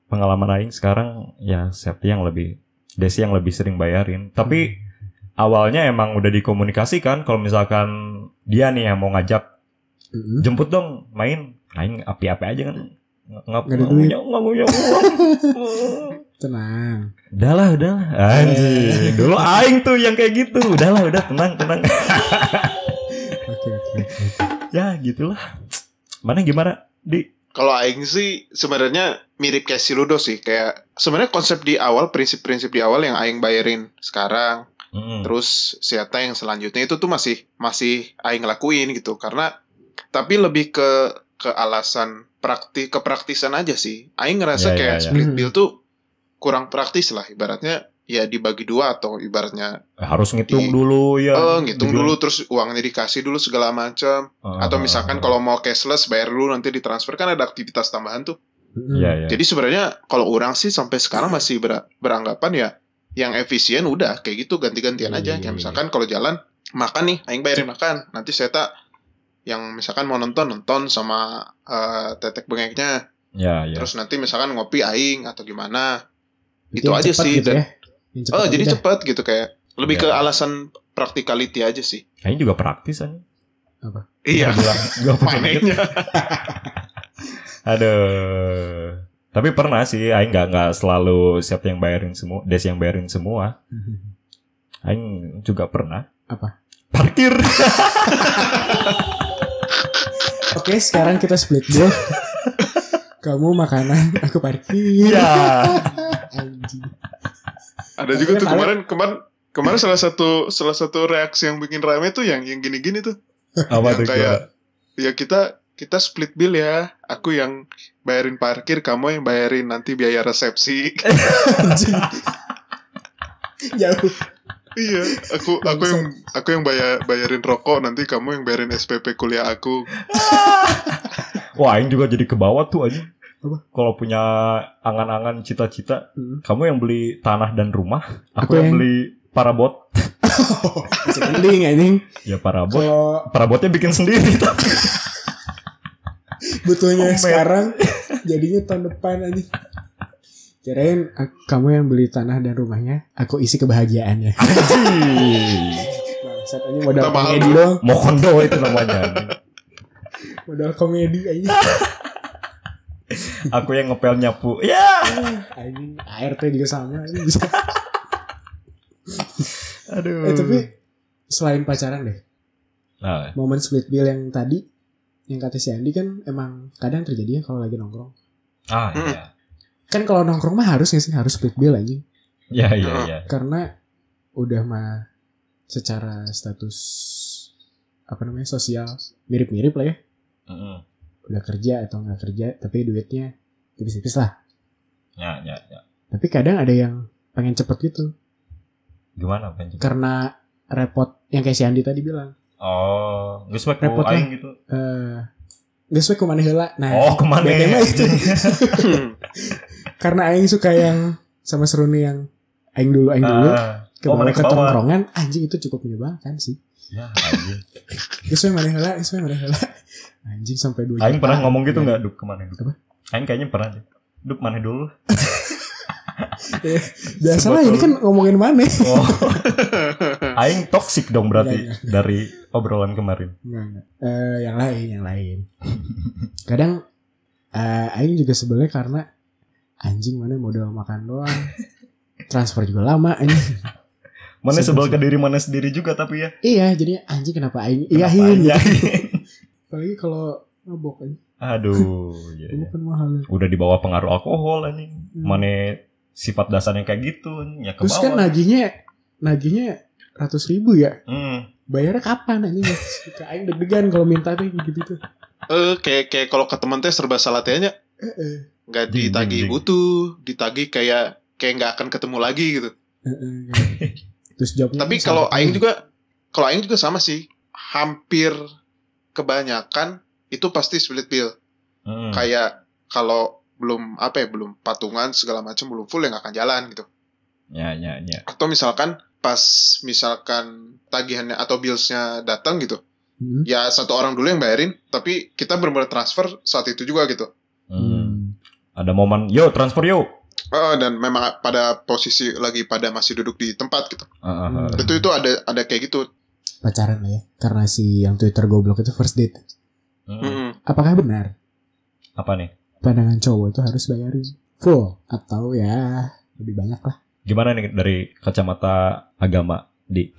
[SPEAKER 1] pengalaman Aing sekarang ya Septi yang lebih Desi yang lebih sering bayarin.
[SPEAKER 3] Hmm.
[SPEAKER 1] Tapi awalnya emang udah dikomunikasikan kalau misalkan dia nih yang mau ngajak
[SPEAKER 3] Mm-mm.
[SPEAKER 1] jemput dong main, main api-api aja kan. Nggak
[SPEAKER 3] Nggak ada
[SPEAKER 1] nggak
[SPEAKER 3] duit.
[SPEAKER 1] punya nggak punya uang.
[SPEAKER 3] Tenang.
[SPEAKER 1] Udahlah, udahlah.
[SPEAKER 5] Eh.
[SPEAKER 1] Anjing. Dulu aing tuh yang kayak gitu. Udahlah, udah tenang, tenang.
[SPEAKER 3] Oke oke. oke.
[SPEAKER 1] ya, gitulah. Mana gimana? Di
[SPEAKER 5] Kalau aing sih sebenarnya mirip kayak si Ludo sih, kayak sebenarnya konsep di awal, prinsip-prinsip di awal yang aing bayarin sekarang,
[SPEAKER 1] Mm-mm.
[SPEAKER 5] terus siapa yang selanjutnya itu tuh masih masih aing lakuin gitu karena tapi lebih ke ke alasan praktik kepraktisan aja sih aing
[SPEAKER 1] Ya, ya,
[SPEAKER 5] ngerasa kayak
[SPEAKER 1] ya.
[SPEAKER 5] split bill tuh kurang praktis lah ibaratnya ya dibagi dua atau ibaratnya
[SPEAKER 1] harus ngitung
[SPEAKER 5] Di-
[SPEAKER 1] dulu Ah. ya.
[SPEAKER 5] eh ngitung dulu terus uangnya dikasih dulu segala macam atau misalkan kalau mau cashless bayar dulu nanti ditransfer kan ada aktivitas tambahan tuh
[SPEAKER 3] Mm-mm.
[SPEAKER 1] ya, ya.
[SPEAKER 5] jadi sebenarnya kalau orang sih sampai sekarang masih ber- beranggapan ya yang efisien udah kayak gitu ganti-gantian
[SPEAKER 1] Iya,
[SPEAKER 5] aja.
[SPEAKER 1] iya,
[SPEAKER 5] Kayak
[SPEAKER 1] iya.
[SPEAKER 5] misalkan kalau jalan makan nih, aing bayarin makan. Nanti saya tak yang misalkan mau nonton nonton sama eh, tetek bengeknya.
[SPEAKER 1] ya, ya.
[SPEAKER 5] Terus nanti misalkan ngopi aing atau gimana.
[SPEAKER 3] Jadi
[SPEAKER 5] Itu
[SPEAKER 3] yang
[SPEAKER 5] aja
[SPEAKER 3] cepat
[SPEAKER 5] sih.
[SPEAKER 3] gitu
[SPEAKER 5] Dan-
[SPEAKER 3] ya. Yang cepat
[SPEAKER 5] oh jadi
[SPEAKER 3] aja dah.
[SPEAKER 5] cepet gitu kayak lebih ke
[SPEAKER 1] Iya.
[SPEAKER 5] alasan practicality aja sih.
[SPEAKER 1] Kayaknya juga praktis aja.
[SPEAKER 5] Iya.
[SPEAKER 1] Bilang, gua pakai.
[SPEAKER 5] Panennya.
[SPEAKER 1] Aduh. Tapi pernah sih aing nggak nggak selalu siapa yang bayarin semua, Des yang bayarin semua.
[SPEAKER 3] Mhm.
[SPEAKER 1] Aing juga pernah.
[SPEAKER 3] Apa?
[SPEAKER 1] Parkir.
[SPEAKER 3] Oke, sekarang kita split bill. Kamu makanan, aku parkir.
[SPEAKER 1] Iya.
[SPEAKER 3] Anjing.
[SPEAKER 5] Ada juga tuh
[SPEAKER 3] Kalian-
[SPEAKER 5] kemarin kemarin kemarin salah satu salah satu reaksi yang bikin rame tuh yang yang gini-gini tuh.
[SPEAKER 1] Apa
[SPEAKER 5] yang
[SPEAKER 1] tuh?
[SPEAKER 5] kayak ya kita kita split bill ya aku yang bayarin parkir kamu yang bayarin nanti biaya resepsi
[SPEAKER 3] Anjing. Jauh.
[SPEAKER 5] iya aku aku yang aku yang bayar bayarin rokok nanti kamu yang bayarin SPP kuliah aku
[SPEAKER 1] Wah, aing juga jadi ke bawah tuh aja.
[SPEAKER 3] Apa?
[SPEAKER 1] Kalau punya angan-angan cita-cita,
[SPEAKER 3] Hmm.
[SPEAKER 1] kamu yang beli tanah dan rumah, aku,
[SPEAKER 3] Aku
[SPEAKER 1] yang,
[SPEAKER 3] yang-
[SPEAKER 1] beli parabot.
[SPEAKER 3] Masih mending anjing.
[SPEAKER 1] Ya parabot.
[SPEAKER 3] Kalau
[SPEAKER 1] Parabotnya bikin sendiri.
[SPEAKER 3] butuhnya
[SPEAKER 1] Omet.
[SPEAKER 3] sekarang jadinya tahun depan aja kirain ah, kamu yang beli tanah dan rumahnya aku isi kebahagiaannya Bangsat aja modal
[SPEAKER 5] Tambah
[SPEAKER 3] komedi dong
[SPEAKER 1] Mokondo itu namanya.
[SPEAKER 3] modal komedi aja
[SPEAKER 1] Aku yang ngepel nyapu. Ya.
[SPEAKER 3] anjing ART juga sama ini bisa
[SPEAKER 1] Aduh.
[SPEAKER 3] eh tapi
[SPEAKER 5] Hmm.
[SPEAKER 3] selain pacaran deh
[SPEAKER 1] Nah,
[SPEAKER 3] momen split bill yang tadi yang kata si Andi kan emang kadang terjadi ya kalau lagi nongkrong
[SPEAKER 1] ah
[SPEAKER 5] Mm.
[SPEAKER 1] iya.
[SPEAKER 3] kan kalau nongkrong mah harus nggak sih harus split bill anjing
[SPEAKER 1] Ya iya
[SPEAKER 3] Hmm.
[SPEAKER 1] iya.
[SPEAKER 3] karena udah mah secara status apa namanya sosial mirip-mirip lah ya
[SPEAKER 1] Mm-mm.
[SPEAKER 3] udah kerja atau nggak kerja tapi duitnya tipis-tipis lah
[SPEAKER 1] Ya ya ya.
[SPEAKER 3] tapi kadang ada yang pengen cepet gitu
[SPEAKER 1] Gimana Benji?
[SPEAKER 3] karena repot yang kayak si Andi tadi bilang
[SPEAKER 1] Oh, geus wek
[SPEAKER 3] Repot
[SPEAKER 1] ku aing gitu.
[SPEAKER 3] eh gak sesuai kemana heula nah
[SPEAKER 1] Oh, kemana? Ah,
[SPEAKER 3] bete mah itu.
[SPEAKER 5] Hmm.
[SPEAKER 3] karena Aing suka yang sama seruni yang Aing dulu Aing dulu
[SPEAKER 1] Ah.
[SPEAKER 3] ke
[SPEAKER 1] oh, mana ke
[SPEAKER 3] ke
[SPEAKER 1] bawah.
[SPEAKER 3] tongkrongan anjing itu cukup menyebalkan sih
[SPEAKER 1] Ya, anjing.
[SPEAKER 3] Gak sesuai mana heula gak sesuai mana heula anjing sampai dua
[SPEAKER 1] Aing
[SPEAKER 3] jutaan.
[SPEAKER 1] pernah ngomong gitu nggak? Dup kemana? Dup?
[SPEAKER 3] Iya. Apa?
[SPEAKER 1] Aing kayaknya pernah deh. Dup mana dulu?
[SPEAKER 3] Biasa lah ini kan ngomongin mana
[SPEAKER 1] Oh. Aing toksik dong berarti
[SPEAKER 3] Iya,
[SPEAKER 1] dari obrolan kemarin.
[SPEAKER 3] Enggak, enggak. Eh, yang lain, yang lain. Kadang eh aing juga sebelnya karena anjing mana modal makan doang. Transfer juga lama anjing.
[SPEAKER 1] Mana
[SPEAKER 3] Sebel-
[SPEAKER 1] sebel ke diri mana sendiri juga tapi ya.
[SPEAKER 3] iya, jadi anjing kenapa aing
[SPEAKER 1] Kenapa
[SPEAKER 3] iyahin gitu.
[SPEAKER 1] Aing? ya?
[SPEAKER 3] Apalagi kalau mabok anjing.
[SPEAKER 1] Aduh, ya, ya.
[SPEAKER 3] Bukan mahal.
[SPEAKER 1] udah di bawah pengaruh alkohol anjing.
[SPEAKER 3] Hmm.
[SPEAKER 1] Mana sifat dasarnya kayak gitu anjing, ya ke
[SPEAKER 3] Terus
[SPEAKER 1] bawah.
[SPEAKER 3] kan nagihnya nagihnya ratus ribu ya.
[SPEAKER 1] Hmm.
[SPEAKER 3] Bayarnya kapan anjing? Suka aing deg-degan kalau minta tuh gitu gitu.
[SPEAKER 5] eh kayak kayak kalau ke teman teh serba salah tehnya
[SPEAKER 3] Eh, Heeh.
[SPEAKER 5] nggak
[SPEAKER 1] Ding,
[SPEAKER 5] ditagi
[SPEAKER 1] ding, ding.
[SPEAKER 5] butuh ditagi kayak kayak nggak akan ketemu lagi gitu
[SPEAKER 3] heeh. Terus
[SPEAKER 1] Iya,
[SPEAKER 3] jawabnya gitu.
[SPEAKER 5] tapi
[SPEAKER 3] "Ini
[SPEAKER 5] kalau
[SPEAKER 3] salah
[SPEAKER 5] aing
[SPEAKER 3] aing."
[SPEAKER 5] juga kalau aing juga sama sih hampir kebanyakan itu pasti split bill
[SPEAKER 1] Hmm.
[SPEAKER 5] kayak kalau belum apa ya belum patungan segala macam belum full ya nggak akan jalan gitu
[SPEAKER 1] Ya, ya, ya.
[SPEAKER 5] atau misalkan pas misalkan tagihannya atau billsnya datang gitu
[SPEAKER 3] Heeh.
[SPEAKER 1] Hmm.
[SPEAKER 5] ya satu orang dulu yang bayarin tapi kita benar-benar transfer saat itu juga gitu
[SPEAKER 1] Hmm. Ada momen, yo transfer yo.
[SPEAKER 5] Eh, dan memang pada posisi lagi pada masih duduk di tempat gitu
[SPEAKER 1] Ah, ah, ah.
[SPEAKER 3] Hmm.
[SPEAKER 5] itu itu ada ada kayak gitu
[SPEAKER 3] pacaran lah ya karena si yang Twitter goblok itu first date.
[SPEAKER 1] Hmm.
[SPEAKER 5] Mm-mm.
[SPEAKER 3] Apakah benar
[SPEAKER 1] Apa nih?
[SPEAKER 3] pandangan cowok itu harus bayarin full atau ya lebih banyak lah?
[SPEAKER 1] Gimana nih dari kacamata agama di?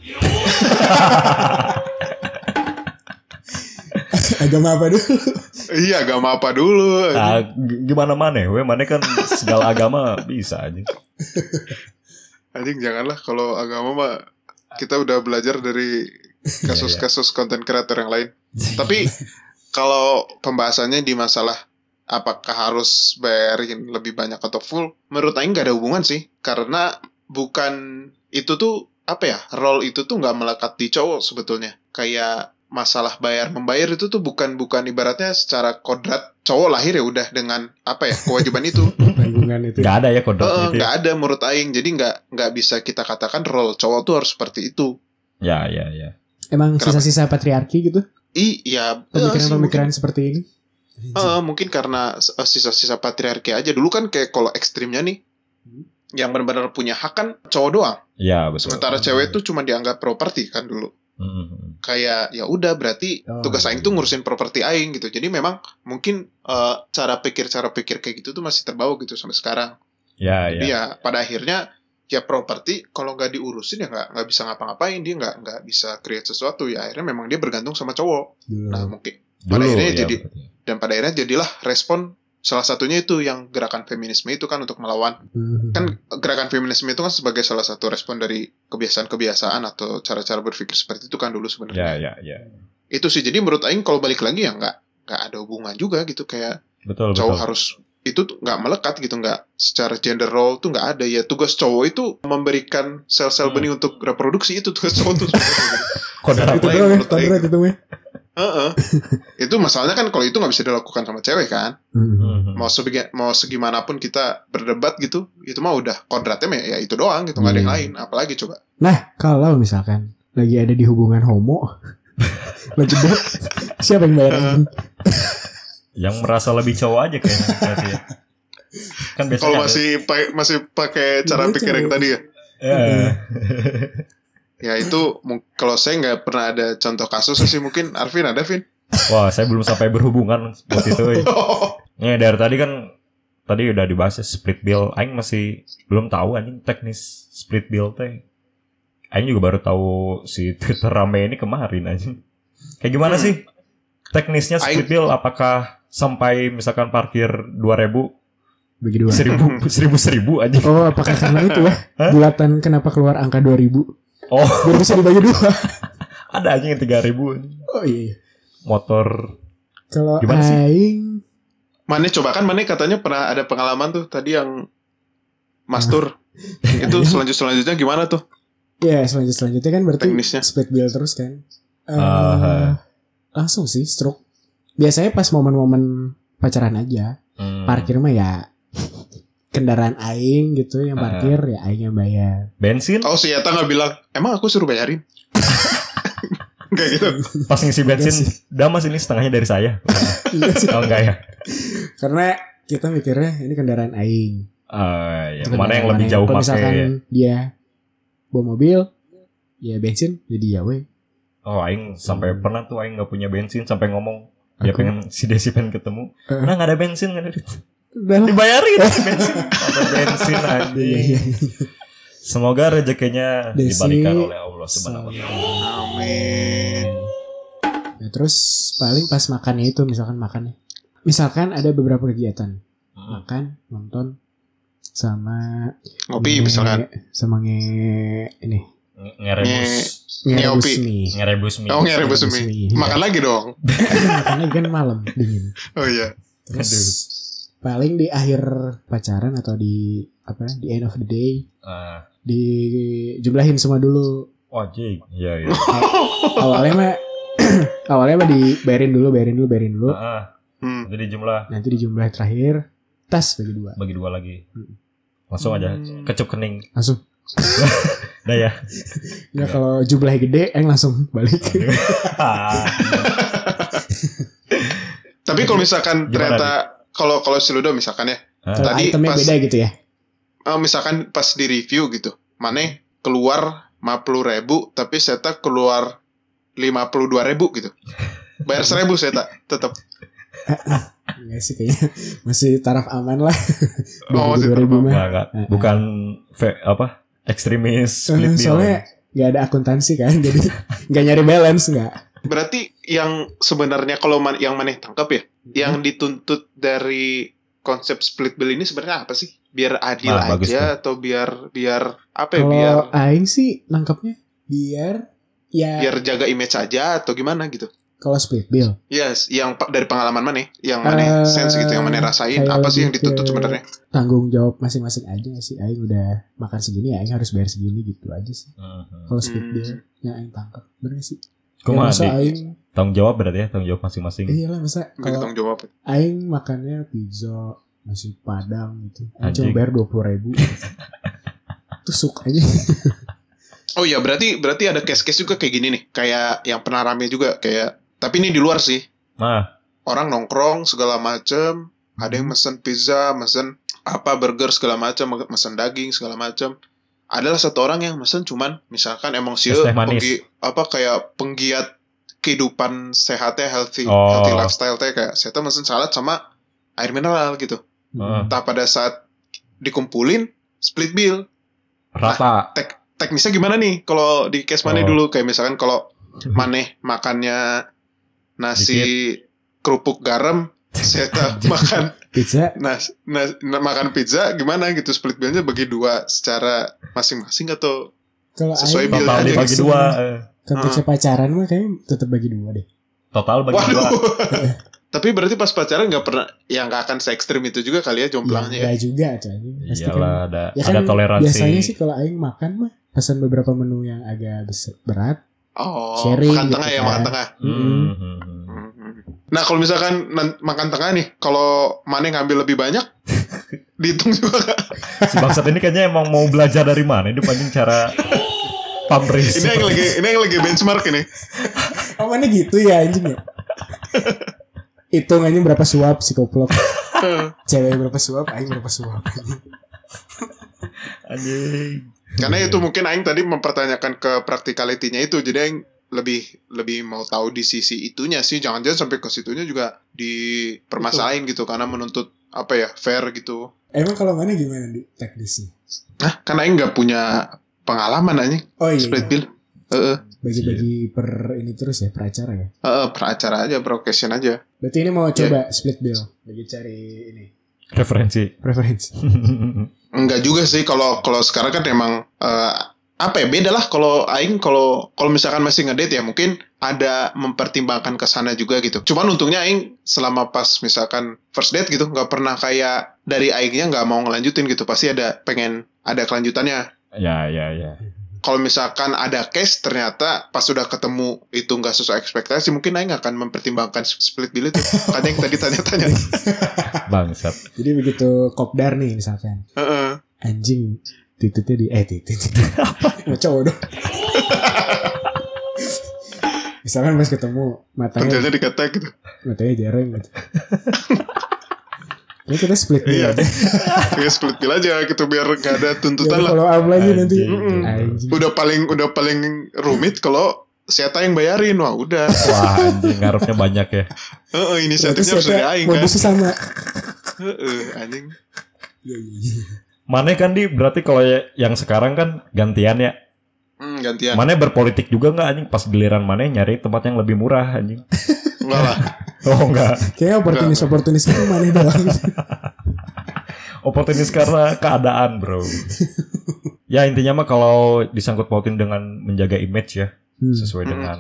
[SPEAKER 3] Agama apa dulu?
[SPEAKER 5] Iya agama apa dulu?
[SPEAKER 1] Ah, g- gimana mana? We mana kan segala agama bisa aja.
[SPEAKER 3] Iya.
[SPEAKER 5] Anjing janganlah kalau agama mah kita udah belajar dari
[SPEAKER 1] Iya,
[SPEAKER 5] kasus-kasus konten kreator yang lain. Tapi kalau pembahasannya di masalah apakah harus bayarin lebih banyak atau full, menurut Aing nggak ada hubungan sih, karena bukan itu tuh apa ya role itu tuh nggak melekat di cowok sebetulnya. Kayak masalah bayar membayar itu tuh bukan bukan ibaratnya secara kodrat cowok lahir ya udah dengan apa ya kewajiban itu
[SPEAKER 3] Tanggungan itu.
[SPEAKER 1] Gak ada ya kodok
[SPEAKER 5] Eh,
[SPEAKER 1] gitu. Ya.
[SPEAKER 5] nggak ada menurut Aing jadi nggak nggak bisa kita katakan role cowok tuh harus seperti itu
[SPEAKER 1] ya ya ya.
[SPEAKER 3] Emang
[SPEAKER 5] Kenapa?
[SPEAKER 3] sisa-sisa patriarki gitu?
[SPEAKER 5] I, ya eh, sih, mungkin,
[SPEAKER 3] Pemikiran-pemikiran seperti ini?
[SPEAKER 5] eh, mungkin karena eh, sisa-sisa patriarki aja dulu kan kayak kalau ekstrimnya nih yang benar-benar punya hak kan cowok doang
[SPEAKER 1] Ya betul. Hmm,
[SPEAKER 5] sementara cewek tuh cuma dianggap properti kan dulu
[SPEAKER 1] Mm-mm.
[SPEAKER 5] kayak ya udah berarti
[SPEAKER 3] Oh,
[SPEAKER 5] tugas aing
[SPEAKER 3] iya.
[SPEAKER 5] tuh ngurusin properti aing gitu jadi memang mungkin eh, cara pikir cara pikir kayak gitu tuh masih terbawa gitu sampai sekarang
[SPEAKER 1] Ya
[SPEAKER 5] Tapi
[SPEAKER 1] ya.
[SPEAKER 5] ya pada akhirnya ya properti kalau nggak diurusin ya nggak nggak bisa ngapa-ngapain dia nggak nggak bisa create sesuatu ya akhirnya memang dia bergantung sama cowok.
[SPEAKER 3] Dulu.
[SPEAKER 5] Nah mungkin
[SPEAKER 1] Dulu
[SPEAKER 5] pada akhirnya
[SPEAKER 1] ya,
[SPEAKER 5] jadi
[SPEAKER 1] berarti.
[SPEAKER 5] dan pada akhirnya jadilah respon salah satunya itu yang gerakan feminisme itu kan untuk melawan
[SPEAKER 3] Mhm.
[SPEAKER 5] kan gerakan feminisme itu kan sebagai salah satu respon dari kebiasaan-kebiasaan atau cara-cara berpikir seperti itu kan dulu
[SPEAKER 1] Ya
[SPEAKER 5] sebenarnya.
[SPEAKER 1] ya ya.
[SPEAKER 5] Itu sih jadi menurut Aing kalau balik lagi ya nggak nggak ada hubungan juga gitu kayak
[SPEAKER 1] Betul
[SPEAKER 5] cowok
[SPEAKER 1] betul.
[SPEAKER 5] harus itu tuh nggak melekat gitu nggak secara gender role tuh nggak ada ya tugas cowok itu memberikan sel-sel
[SPEAKER 1] Hmm.
[SPEAKER 5] benih untuk reproduksi itu tugas cowok tuh sebenarnya.
[SPEAKER 1] Kodrat.
[SPEAKER 3] Itu
[SPEAKER 5] lain
[SPEAKER 3] doang ya,
[SPEAKER 5] menurut Aing.
[SPEAKER 3] kodrat itu mah.
[SPEAKER 5] Heeh. itu masalahnya kan kalau itu nggak bisa dilakukan sama cewek kan
[SPEAKER 3] Mhm.
[SPEAKER 1] Mm-mm.
[SPEAKER 5] mau sebegi mau segimanapun kita berdebat gitu itu mah udah kodratnya mah ya itu doang gitu nggak ada yang
[SPEAKER 3] Iya.
[SPEAKER 5] lain apalagi coba
[SPEAKER 3] Nah, kalau misalkan lagi ada di hubungan homo, lagi dap, siapa yang bayarin?
[SPEAKER 1] Yang merasa lebih cowok aja kayaknya. berarti ya. kan biasanya.
[SPEAKER 5] kalau
[SPEAKER 1] ada-
[SPEAKER 5] masih pa- masih pakai cara
[SPEAKER 3] Iya,
[SPEAKER 5] pikir yang
[SPEAKER 3] cewek.
[SPEAKER 5] tadi ya
[SPEAKER 1] Eh,
[SPEAKER 5] ya itu mung- kalau saya nggak pernah ada contoh kasus sih mungkin Arvin ada Vin
[SPEAKER 1] Wah saya belum sampai berhubungan waktu itu. ya. Nih dari tadi kan tadi udah dibahas ya, split bill. Aing masih belum tahu anjing teknis split bill teh. Aing juga baru tahu si Twitter rame ini kemarin anjing. Kayak gimana
[SPEAKER 5] Hmm.
[SPEAKER 1] sih teknisnya split
[SPEAKER 5] Aing-
[SPEAKER 1] bill? Apakah sampai misalkan parkir 2000
[SPEAKER 3] Bagi dua.
[SPEAKER 1] 1000 1000 1000 anjing.
[SPEAKER 3] Oh, apakah karena itu ya?
[SPEAKER 1] Hah?
[SPEAKER 3] Bulatan kenapa keluar angka 2000?
[SPEAKER 1] Oh,
[SPEAKER 3] Biar bisa dibagi dua.
[SPEAKER 1] ada anjing yang 3000 anjing.
[SPEAKER 3] Oh iya. iya.
[SPEAKER 1] Motor
[SPEAKER 3] Kalau
[SPEAKER 1] Gimana sih?
[SPEAKER 3] aing
[SPEAKER 5] Mane coba kan Mane katanya pernah ada pengalaman tuh tadi yang mastur. itu selanjut selanjutnya gimana tuh?
[SPEAKER 3] ya selanjut selanjutnya kan berarti
[SPEAKER 5] Teknisnya.
[SPEAKER 3] split bill terus kan. Eh,
[SPEAKER 1] Ah.
[SPEAKER 3] langsung sih stroke. Biasanya pas momen-momen pacaran aja.
[SPEAKER 1] hmm,
[SPEAKER 3] Parkir mah ya kendaraan aing gitu yang
[SPEAKER 1] Ah.
[SPEAKER 3] parkir ya aing yang bayar.
[SPEAKER 1] bensin
[SPEAKER 5] Oh si Yata nggak bilang, emang aku suruh bayarin? Kayak gitu.
[SPEAKER 1] pas ngisi bensin
[SPEAKER 3] sih.
[SPEAKER 1] damas ini setengahnya dari saya.
[SPEAKER 3] Iya sih.
[SPEAKER 1] Oh enggak ya.
[SPEAKER 3] Karena kita mikirnya ini kendaraan aing.
[SPEAKER 1] Eh, ya,
[SPEAKER 3] Itu
[SPEAKER 1] mana yang
[SPEAKER 3] kendaraan
[SPEAKER 1] lebih
[SPEAKER 3] aing.
[SPEAKER 1] jauh
[SPEAKER 3] Kalau
[SPEAKER 1] pakai
[SPEAKER 3] misalkan
[SPEAKER 1] ya?
[SPEAKER 3] dia bawa mobil, ya bensin jadi ya weh.
[SPEAKER 1] Oh Aing sampai
[SPEAKER 3] Hmm.
[SPEAKER 1] pernah tuh Aing nggak punya bensin sampai ngomong dia
[SPEAKER 3] Aku-
[SPEAKER 1] pengen si Desi pengen ketemu.
[SPEAKER 3] Eh.
[SPEAKER 1] Nah nggak ada bensin nggak ada duit.
[SPEAKER 3] Udah lah.
[SPEAKER 1] dibayarin bensin. Apa bensin
[SPEAKER 3] Iya,
[SPEAKER 1] anjing.
[SPEAKER 3] iya, iya.
[SPEAKER 1] Semoga rezekinya
[SPEAKER 3] Desi-
[SPEAKER 1] dibalikan oleh Allah Subhanahu wa taala.
[SPEAKER 5] Amin.
[SPEAKER 3] Nah, terus paling pas makannya itu misalkan makannya. Misalkan ada beberapa kegiatan,
[SPEAKER 1] Hmm.
[SPEAKER 3] makan, nonton sama nge-
[SPEAKER 5] Ngopi misalkan.
[SPEAKER 3] sama nge ini
[SPEAKER 1] Nge- Ngerebus
[SPEAKER 3] ngerebus
[SPEAKER 5] Ngeopi.
[SPEAKER 3] mie.
[SPEAKER 1] ngerebus
[SPEAKER 3] Iya,
[SPEAKER 1] mie.
[SPEAKER 5] Oh ngerebus
[SPEAKER 3] Ngerebus
[SPEAKER 5] mie.
[SPEAKER 3] mie.
[SPEAKER 5] Makan lagi dong.
[SPEAKER 3] Makannya kan malam dingin.
[SPEAKER 5] Oh iya.
[SPEAKER 3] Terus
[SPEAKER 1] Aduh.
[SPEAKER 3] paling di akhir pacaran atau di apa di end of the day
[SPEAKER 1] Ah,
[SPEAKER 3] dijumlahin semua dulu
[SPEAKER 1] oh jing. Iya iya.
[SPEAKER 3] awalnya mah awalnya mah dibayarin dulu bayarin dulu bayarin dulu
[SPEAKER 1] Heeh. Ah,
[SPEAKER 5] Hmm.
[SPEAKER 1] Jadi jumlah
[SPEAKER 3] nanti dijumlah terakhir tas bagi dua
[SPEAKER 1] bagi dua lagi.
[SPEAKER 3] Hmm.
[SPEAKER 1] Langsung aja
[SPEAKER 5] Hmm.
[SPEAKER 1] kecup kening.
[SPEAKER 3] langsung
[SPEAKER 1] Dah ya.
[SPEAKER 3] ya
[SPEAKER 5] Iya.
[SPEAKER 3] kalau jumlahnya gede eng langsung balik
[SPEAKER 1] Ah,
[SPEAKER 5] Tapi kalau misalkan
[SPEAKER 1] Gimana,
[SPEAKER 5] ternyata kalau kalau si Ludo misalkan ya,
[SPEAKER 3] kalau
[SPEAKER 5] Tadi
[SPEAKER 3] itemnya
[SPEAKER 5] pas-
[SPEAKER 3] beda gitu ya
[SPEAKER 5] eh, misalkan pas di review gitu, Mane keluar 50 ribu, tapi Seta keluar 52 ribu gitu. Bayar seribu Seta, tetap.
[SPEAKER 3] Enggak Iya sih kayaknya masih taraf aman lah
[SPEAKER 5] Oh,
[SPEAKER 3] 2000
[SPEAKER 5] masih taraf
[SPEAKER 1] Enggak
[SPEAKER 3] mah
[SPEAKER 1] enggak. Bukan fe- apa? Ekstremis split
[SPEAKER 3] Eh,
[SPEAKER 1] bill.
[SPEAKER 3] soalnya nggak ada akuntansi kan jadi nggak nyari balance nggak
[SPEAKER 5] Berarti yang sebenarnya kalau man- yang maneh tangkap
[SPEAKER 1] Hmm.
[SPEAKER 5] ya, yang dituntut dari konsep split bill ini sebenarnya apa sih? Biar adil
[SPEAKER 1] Wah, Nah, bagus
[SPEAKER 5] aja atau biar biar apa ya? Biar
[SPEAKER 3] Kalau aing sih nangkapnya biar ya
[SPEAKER 5] biar jaga image aja atau gimana gitu?
[SPEAKER 3] kalau split bill
[SPEAKER 5] Yes, yang pa- dari pengalaman maneh, yang maneh
[SPEAKER 3] Eh,
[SPEAKER 5] sense gitu, yang maneh
[SPEAKER 3] kayak
[SPEAKER 5] rasain
[SPEAKER 3] gitu.
[SPEAKER 5] apa sih yang
[SPEAKER 3] lebih
[SPEAKER 5] dituntut
[SPEAKER 3] ke-
[SPEAKER 5] sebenarnya?
[SPEAKER 3] tanggung jawab masing-masing aja nggak sih aing udah makan segini aing harus bayar segini gitu aja sih
[SPEAKER 1] Mhm.
[SPEAKER 3] kalau split
[SPEAKER 5] Hmm.
[SPEAKER 3] bill yang aing tangkap bener nggak sih
[SPEAKER 1] Kok
[SPEAKER 3] Ya,
[SPEAKER 1] mah
[SPEAKER 3] masa
[SPEAKER 1] di-
[SPEAKER 3] aing
[SPEAKER 1] tanggung jawab berarti ya tanggung jawab masing-masing.
[SPEAKER 3] iyalah masa
[SPEAKER 5] Nggak
[SPEAKER 3] kalau
[SPEAKER 5] tanggung jawab.
[SPEAKER 3] aing makannya pizza nasi padang gitu aing
[SPEAKER 1] Anjing.
[SPEAKER 3] cuma bayar dua puluh ribu tusuk aja
[SPEAKER 5] Oh iya, berarti berarti ada case-case juga kayak gini nih, kayak yang pernah rame juga kayak tapi ini di luar sih.
[SPEAKER 1] Nah,
[SPEAKER 5] Orang nongkrong segala macem, ada
[SPEAKER 3] Hmm.
[SPEAKER 5] yang mesen pizza, mesen apa burger segala macem, mesen daging segala macem. Adalah satu orang yang mesen cuman misalkan emang sih
[SPEAKER 1] Es teh manis.
[SPEAKER 5] apa kayak penggiat kehidupan sehatnya healthy,
[SPEAKER 1] Oh.
[SPEAKER 5] healthy lifestyle teh kayak saya tuh mesen salad sama air mineral gitu.
[SPEAKER 1] Ah.
[SPEAKER 5] Entah pada saat dikumpulin split bill
[SPEAKER 3] Ah,
[SPEAKER 1] rata.
[SPEAKER 5] tek teknisnya gimana nih kalau di case mana
[SPEAKER 1] Oh.
[SPEAKER 5] dulu kayak misalkan kalau maneh makannya nasi kerupuk garam saya tak makan
[SPEAKER 3] pizza
[SPEAKER 5] nas, nas- na- makan pizza gimana gitu split billnya bagi dua secara masing-masing atau
[SPEAKER 3] kalau
[SPEAKER 5] Sesuai
[SPEAKER 3] aing
[SPEAKER 5] Hmm. bill
[SPEAKER 1] Total
[SPEAKER 5] aja
[SPEAKER 1] dibagi
[SPEAKER 3] gitu.
[SPEAKER 1] dua. eh.
[SPEAKER 3] konteksnya pacaran mah kayaknya tetap bagi dua deh
[SPEAKER 1] Total bagi dua.
[SPEAKER 5] waduh tapi berarti pas pacaran nggak pernah yang nggak akan se ekstrim itu juga kali ya
[SPEAKER 3] ya
[SPEAKER 5] jomblangnya ya,
[SPEAKER 3] enggak juga tuh anjing. Pasti kan-
[SPEAKER 1] Iyalah ada
[SPEAKER 3] ya
[SPEAKER 1] ada
[SPEAKER 3] kan
[SPEAKER 1] toleransi.
[SPEAKER 3] biasanya sih kalau aing makan mah pesan beberapa menu yang agak bes- berat
[SPEAKER 5] oh
[SPEAKER 3] Sharing
[SPEAKER 5] makan
[SPEAKER 3] gitu
[SPEAKER 5] tengah ya
[SPEAKER 3] kan.
[SPEAKER 5] makan tengah
[SPEAKER 1] Mhm, mhm.
[SPEAKER 5] nah kalau misalkan nan- makan tengah nih kalau maneh ngambil lebih banyak dihitung juga kan? nggak?
[SPEAKER 1] Si bangsat ini kayaknya emang mau belajar dari mana itu paling cara pamrih.
[SPEAKER 5] ini yang lagi ini yang lagi benchmark ini
[SPEAKER 3] oh mana gitu ya anjing ya hitungannya berapa suap si koplok cewek berapa suap aing berapa suap
[SPEAKER 1] Anjing.
[SPEAKER 5] Karena itu mungkin Aing tadi mempertanyakan ke practicality-nya itu, jadi Aing lebih lebih mau tahu di sisi itunya sih, jangan-jangan sampai ke situnya juga dipermasalahin gitu, karena menuntut apa ya fair gitu.
[SPEAKER 3] emang kalau mana gimana di teknisnya
[SPEAKER 5] Nah, karena Aing nggak punya pengalaman aja
[SPEAKER 3] oh iya
[SPEAKER 5] split
[SPEAKER 3] iya.
[SPEAKER 5] bill, Iya. Heeh,
[SPEAKER 3] bagi-bagi per ini terus ya per acara ya
[SPEAKER 5] heeh, per acara aja, per occasion aja.
[SPEAKER 3] berarti ini mau
[SPEAKER 5] Iya.
[SPEAKER 3] coba split bill bagi cari ini
[SPEAKER 1] Referensi.
[SPEAKER 3] preferensi
[SPEAKER 5] Enggak juga sih kalau kalau sekarang kan emang eh, apa ya beda lah kalau aing kalau kalau misalkan masih ngedate ya mungkin ada mempertimbangkan ke sana juga gitu. Cuman untungnya aing selama pas misalkan first date gitu nggak pernah kayak dari aingnya nggak mau ngelanjutin gitu. Pasti ada pengen ada kelanjutannya.
[SPEAKER 1] ya ya ya.
[SPEAKER 5] Kalau misalkan ada case ternyata pas sudah ketemu itu nggak sesuai ekspektasi mungkin aing akan mempertimbangkan split bill itu. Makanya yang tadi tanya-tanya.
[SPEAKER 1] Bangsat.
[SPEAKER 3] jadi begitu kopdar nih misalkan
[SPEAKER 5] Heeh.
[SPEAKER 3] anjing tititnya di eh titit titit apa cowok dong misalkan pas ketemu matanya
[SPEAKER 5] Ternyata dikata gitu.
[SPEAKER 3] matanya jarang gitu ini kita split dulu
[SPEAKER 5] Iya.
[SPEAKER 3] aja
[SPEAKER 5] Ya split bill aja gitu biar nggak ada tuntutan
[SPEAKER 3] Jangan
[SPEAKER 5] lah.
[SPEAKER 3] follow up lagi nanti
[SPEAKER 1] Anjing.
[SPEAKER 3] anjing
[SPEAKER 5] udah paling udah paling rumit kalau Seta yang bayarin wah udah
[SPEAKER 1] Wah anjing ngarepnya banyak ya.
[SPEAKER 5] Heeh,
[SPEAKER 3] Berarti
[SPEAKER 5] inisiatifnya harus
[SPEAKER 3] siapa
[SPEAKER 5] dari aing kan
[SPEAKER 3] modusnya sama
[SPEAKER 5] Heeh, anjing
[SPEAKER 3] Iya, iya, iya.
[SPEAKER 1] Mana kan di berarti kalau ya- yang sekarang kan gantian ya.
[SPEAKER 5] hmm, gantian
[SPEAKER 3] Ya.
[SPEAKER 1] Mana berpolitik juga nggak anjing pas giliran mana nyari tempat yang lebih murah anjing.
[SPEAKER 5] enggak lah
[SPEAKER 1] Oh enggak.
[SPEAKER 3] kayaknya oportunis oportunis itu mana doang
[SPEAKER 1] Oportunis karena keadaan, Bro. Ya intinya mah kalau disangkut pautin dengan menjaga image ya
[SPEAKER 3] Hmm.
[SPEAKER 1] sesuai
[SPEAKER 5] Hmm.
[SPEAKER 1] dengan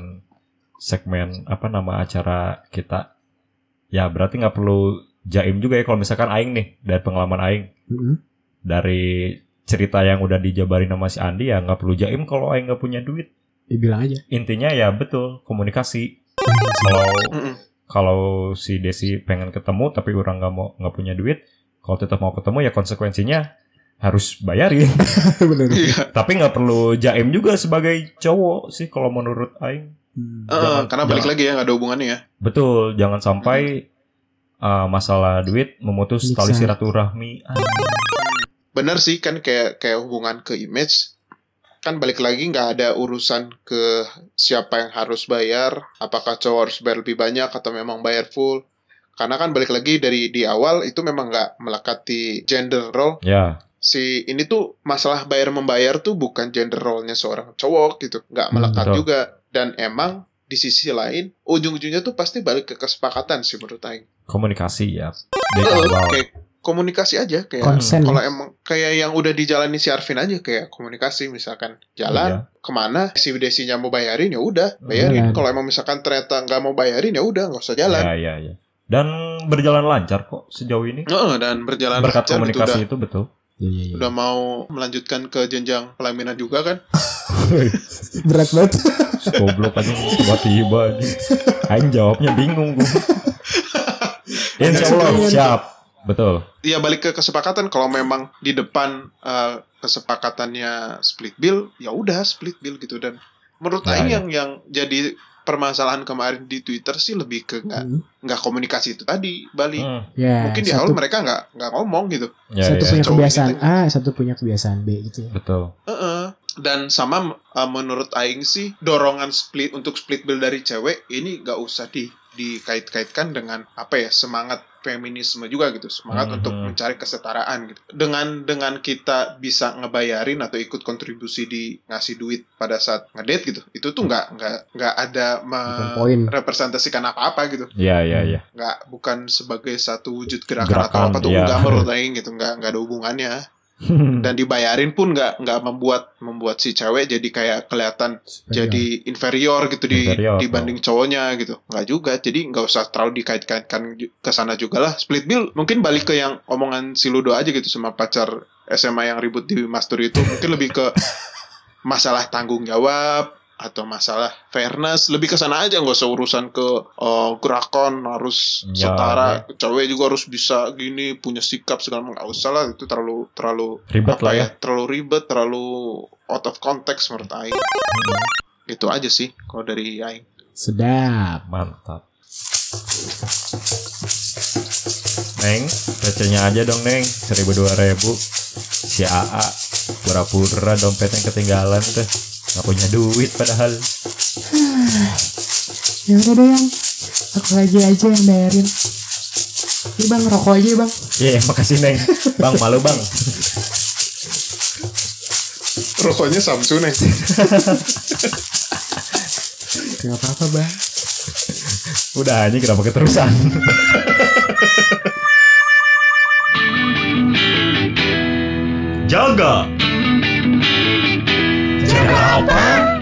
[SPEAKER 1] segmen apa nama acara kita. Ya berarti nggak perlu jaim juga ya kalau misalkan aing nih dari pengalaman aing
[SPEAKER 3] Mm-mm.
[SPEAKER 1] dari cerita yang udah dijabarin sama si Andi ya nggak perlu jaim kalau aing nggak punya duit.
[SPEAKER 3] Ya, bilang aja
[SPEAKER 1] Intinya ya betul komunikasi. Kalau
[SPEAKER 5] Heeh.
[SPEAKER 1] kalau si Desi pengen ketemu tapi orang nggak mau nggak punya duit kalau tetap mau ketemu ya konsekuensinya harus bayarin
[SPEAKER 3] bener
[SPEAKER 5] iya
[SPEAKER 1] tapi nggak perlu jaim juga sebagai cowok sih kalau menurut Aing
[SPEAKER 3] Hmm.
[SPEAKER 5] Heeh,
[SPEAKER 1] Jangan-
[SPEAKER 5] karena balik
[SPEAKER 1] jangan.
[SPEAKER 5] lagi ya nggak ada hubungannya ya
[SPEAKER 1] betul jangan sampai uh, masalah duit memutus
[SPEAKER 3] Bisa.
[SPEAKER 1] tali silaturahmi Ah,
[SPEAKER 5] benar sih kan kayak kayak hubungan ke image kan balik lagi nggak ada urusan ke siapa yang harus bayar apakah cowok harus bayar lebih banyak atau memang bayar full karena kan balik lagi dari di awal itu memang nggak melekat di gender role
[SPEAKER 1] ya
[SPEAKER 5] si ini tuh masalah bayar membayar tuh bukan gender role-nya seorang cowok gitu nggak
[SPEAKER 3] Hmm,
[SPEAKER 5] melekat
[SPEAKER 1] betul.
[SPEAKER 5] juga dan emang di sisi lain ujung-ujungnya tuh pasti balik ke kesepakatan sih menurut Aing.
[SPEAKER 1] komunikasi ya dari
[SPEAKER 5] Eh,
[SPEAKER 1] awal
[SPEAKER 5] Kayak komunikasi aja kayak
[SPEAKER 3] konsen
[SPEAKER 5] kalau
[SPEAKER 3] ya.
[SPEAKER 5] emang kayak yang udah dijalani si Arvin aja kayak komunikasi misalkan
[SPEAKER 1] Iya.
[SPEAKER 5] jalan kemana si Desinya mau bayarin ya udah bayarin
[SPEAKER 3] Jalan.
[SPEAKER 5] kalau emang misalkan ternyata nggak mau bayarin ya udah nggak usah jalan
[SPEAKER 1] ya ya ya dan berjalan lancar kok sejauh ini
[SPEAKER 5] Heeh, dan berjalan
[SPEAKER 1] berkat
[SPEAKER 5] lancar gitu,
[SPEAKER 1] komunikasi
[SPEAKER 5] udah,
[SPEAKER 1] itu betul
[SPEAKER 3] Iya, iya, iya.
[SPEAKER 5] udah mau melanjutkan ke jenjang pelaminan juga kan
[SPEAKER 3] berat banget
[SPEAKER 1] goblok aja tiba-tiba aja Aing jawabnya bingung gue Insya Allah siap betul
[SPEAKER 5] ya balik ke kesepakatan kalau memang di depan eh, kesepakatannya split bill ya udah split bill gitu dan menurut
[SPEAKER 1] Nah,
[SPEAKER 5] Aing
[SPEAKER 1] iya.
[SPEAKER 5] yang yang jadi permasalahan kemarin di Twitter sih lebih ke nggak
[SPEAKER 3] Hmm.
[SPEAKER 5] nggak komunikasi itu tadi balik
[SPEAKER 1] Hmm,
[SPEAKER 3] ya
[SPEAKER 5] mungkin di awal
[SPEAKER 3] satu,
[SPEAKER 5] mereka nggak nggak ngomong gitu
[SPEAKER 1] ya,
[SPEAKER 3] satu
[SPEAKER 1] ya,
[SPEAKER 3] punya
[SPEAKER 5] Cowok
[SPEAKER 3] kebiasaan
[SPEAKER 5] gitu.
[SPEAKER 3] A satu punya kebiasaan B gitu ya
[SPEAKER 1] betul
[SPEAKER 5] Heeh. dan sama eh, menurut Aing sih dorongan split untuk split bill dari cewek ini nggak usah di dikait-kaitkan dengan apa ya semangat feminisme juga gitu semangat
[SPEAKER 1] Mhm.
[SPEAKER 5] untuk mencari kesetaraan gitu dengan dengan kita bisa ngebayarin atau ikut kontribusi di ngasih duit pada saat ngedate gitu itu tuh nggak nggak nggak ada
[SPEAKER 3] Bukan poin.
[SPEAKER 5] merepresentasikan apa-apa gitu
[SPEAKER 1] ya ya ya
[SPEAKER 5] nggak bukan sebagai satu wujud gerakan, atau
[SPEAKER 1] Gerakan,
[SPEAKER 5] apa tuh
[SPEAKER 1] iya.
[SPEAKER 5] nggak menurut Aing gitu nggak nggak ada hubungannya
[SPEAKER 1] Hmm.
[SPEAKER 5] dan dibayarin pun nggak nggak membuat membuat si cewek jadi kayak kelihatan
[SPEAKER 3] Iya.
[SPEAKER 5] jadi inferior gitu di
[SPEAKER 1] Inferior.
[SPEAKER 5] dibanding cowoknya gitu nggak juga jadi nggak usah terlalu dikait-kaitkan ju- ke sana juga lah split bill mungkin balik ke yang omongan si Ludo aja gitu sama pacar SMA yang ribut di Mastur itu mungkin lebih ke masalah tanggung jawab atau masalah fairness lebih ke sana aja nggak usah urusan ke eh, gerakan harus
[SPEAKER 1] Ya,
[SPEAKER 5] setara cewek juga harus bisa gini punya sikap segala macam nggak usah lah itu terlalu terlalu
[SPEAKER 1] ribet
[SPEAKER 5] apa
[SPEAKER 1] lah ya
[SPEAKER 5] terlalu ribet terlalu out of context menurut Aing itu aja sih kalau dari Aing
[SPEAKER 3] sedap
[SPEAKER 1] mantap Neng, recehnya aja dong Neng, seribu dua ribu. Si AA pura-pura dompetnya ketinggalan tuh, nggak punya duit padahal.
[SPEAKER 3] ya udah deh yang aku lagi aja yang bayarin ini bang rokok aja ya, bang
[SPEAKER 1] Iya, makasih Neng. Bang, malu Bang.
[SPEAKER 5] rokoknya Samsung nih
[SPEAKER 3] nggak apa apa bang
[SPEAKER 1] Udah aja kenapa keterusan? Jaga. Jaga apa?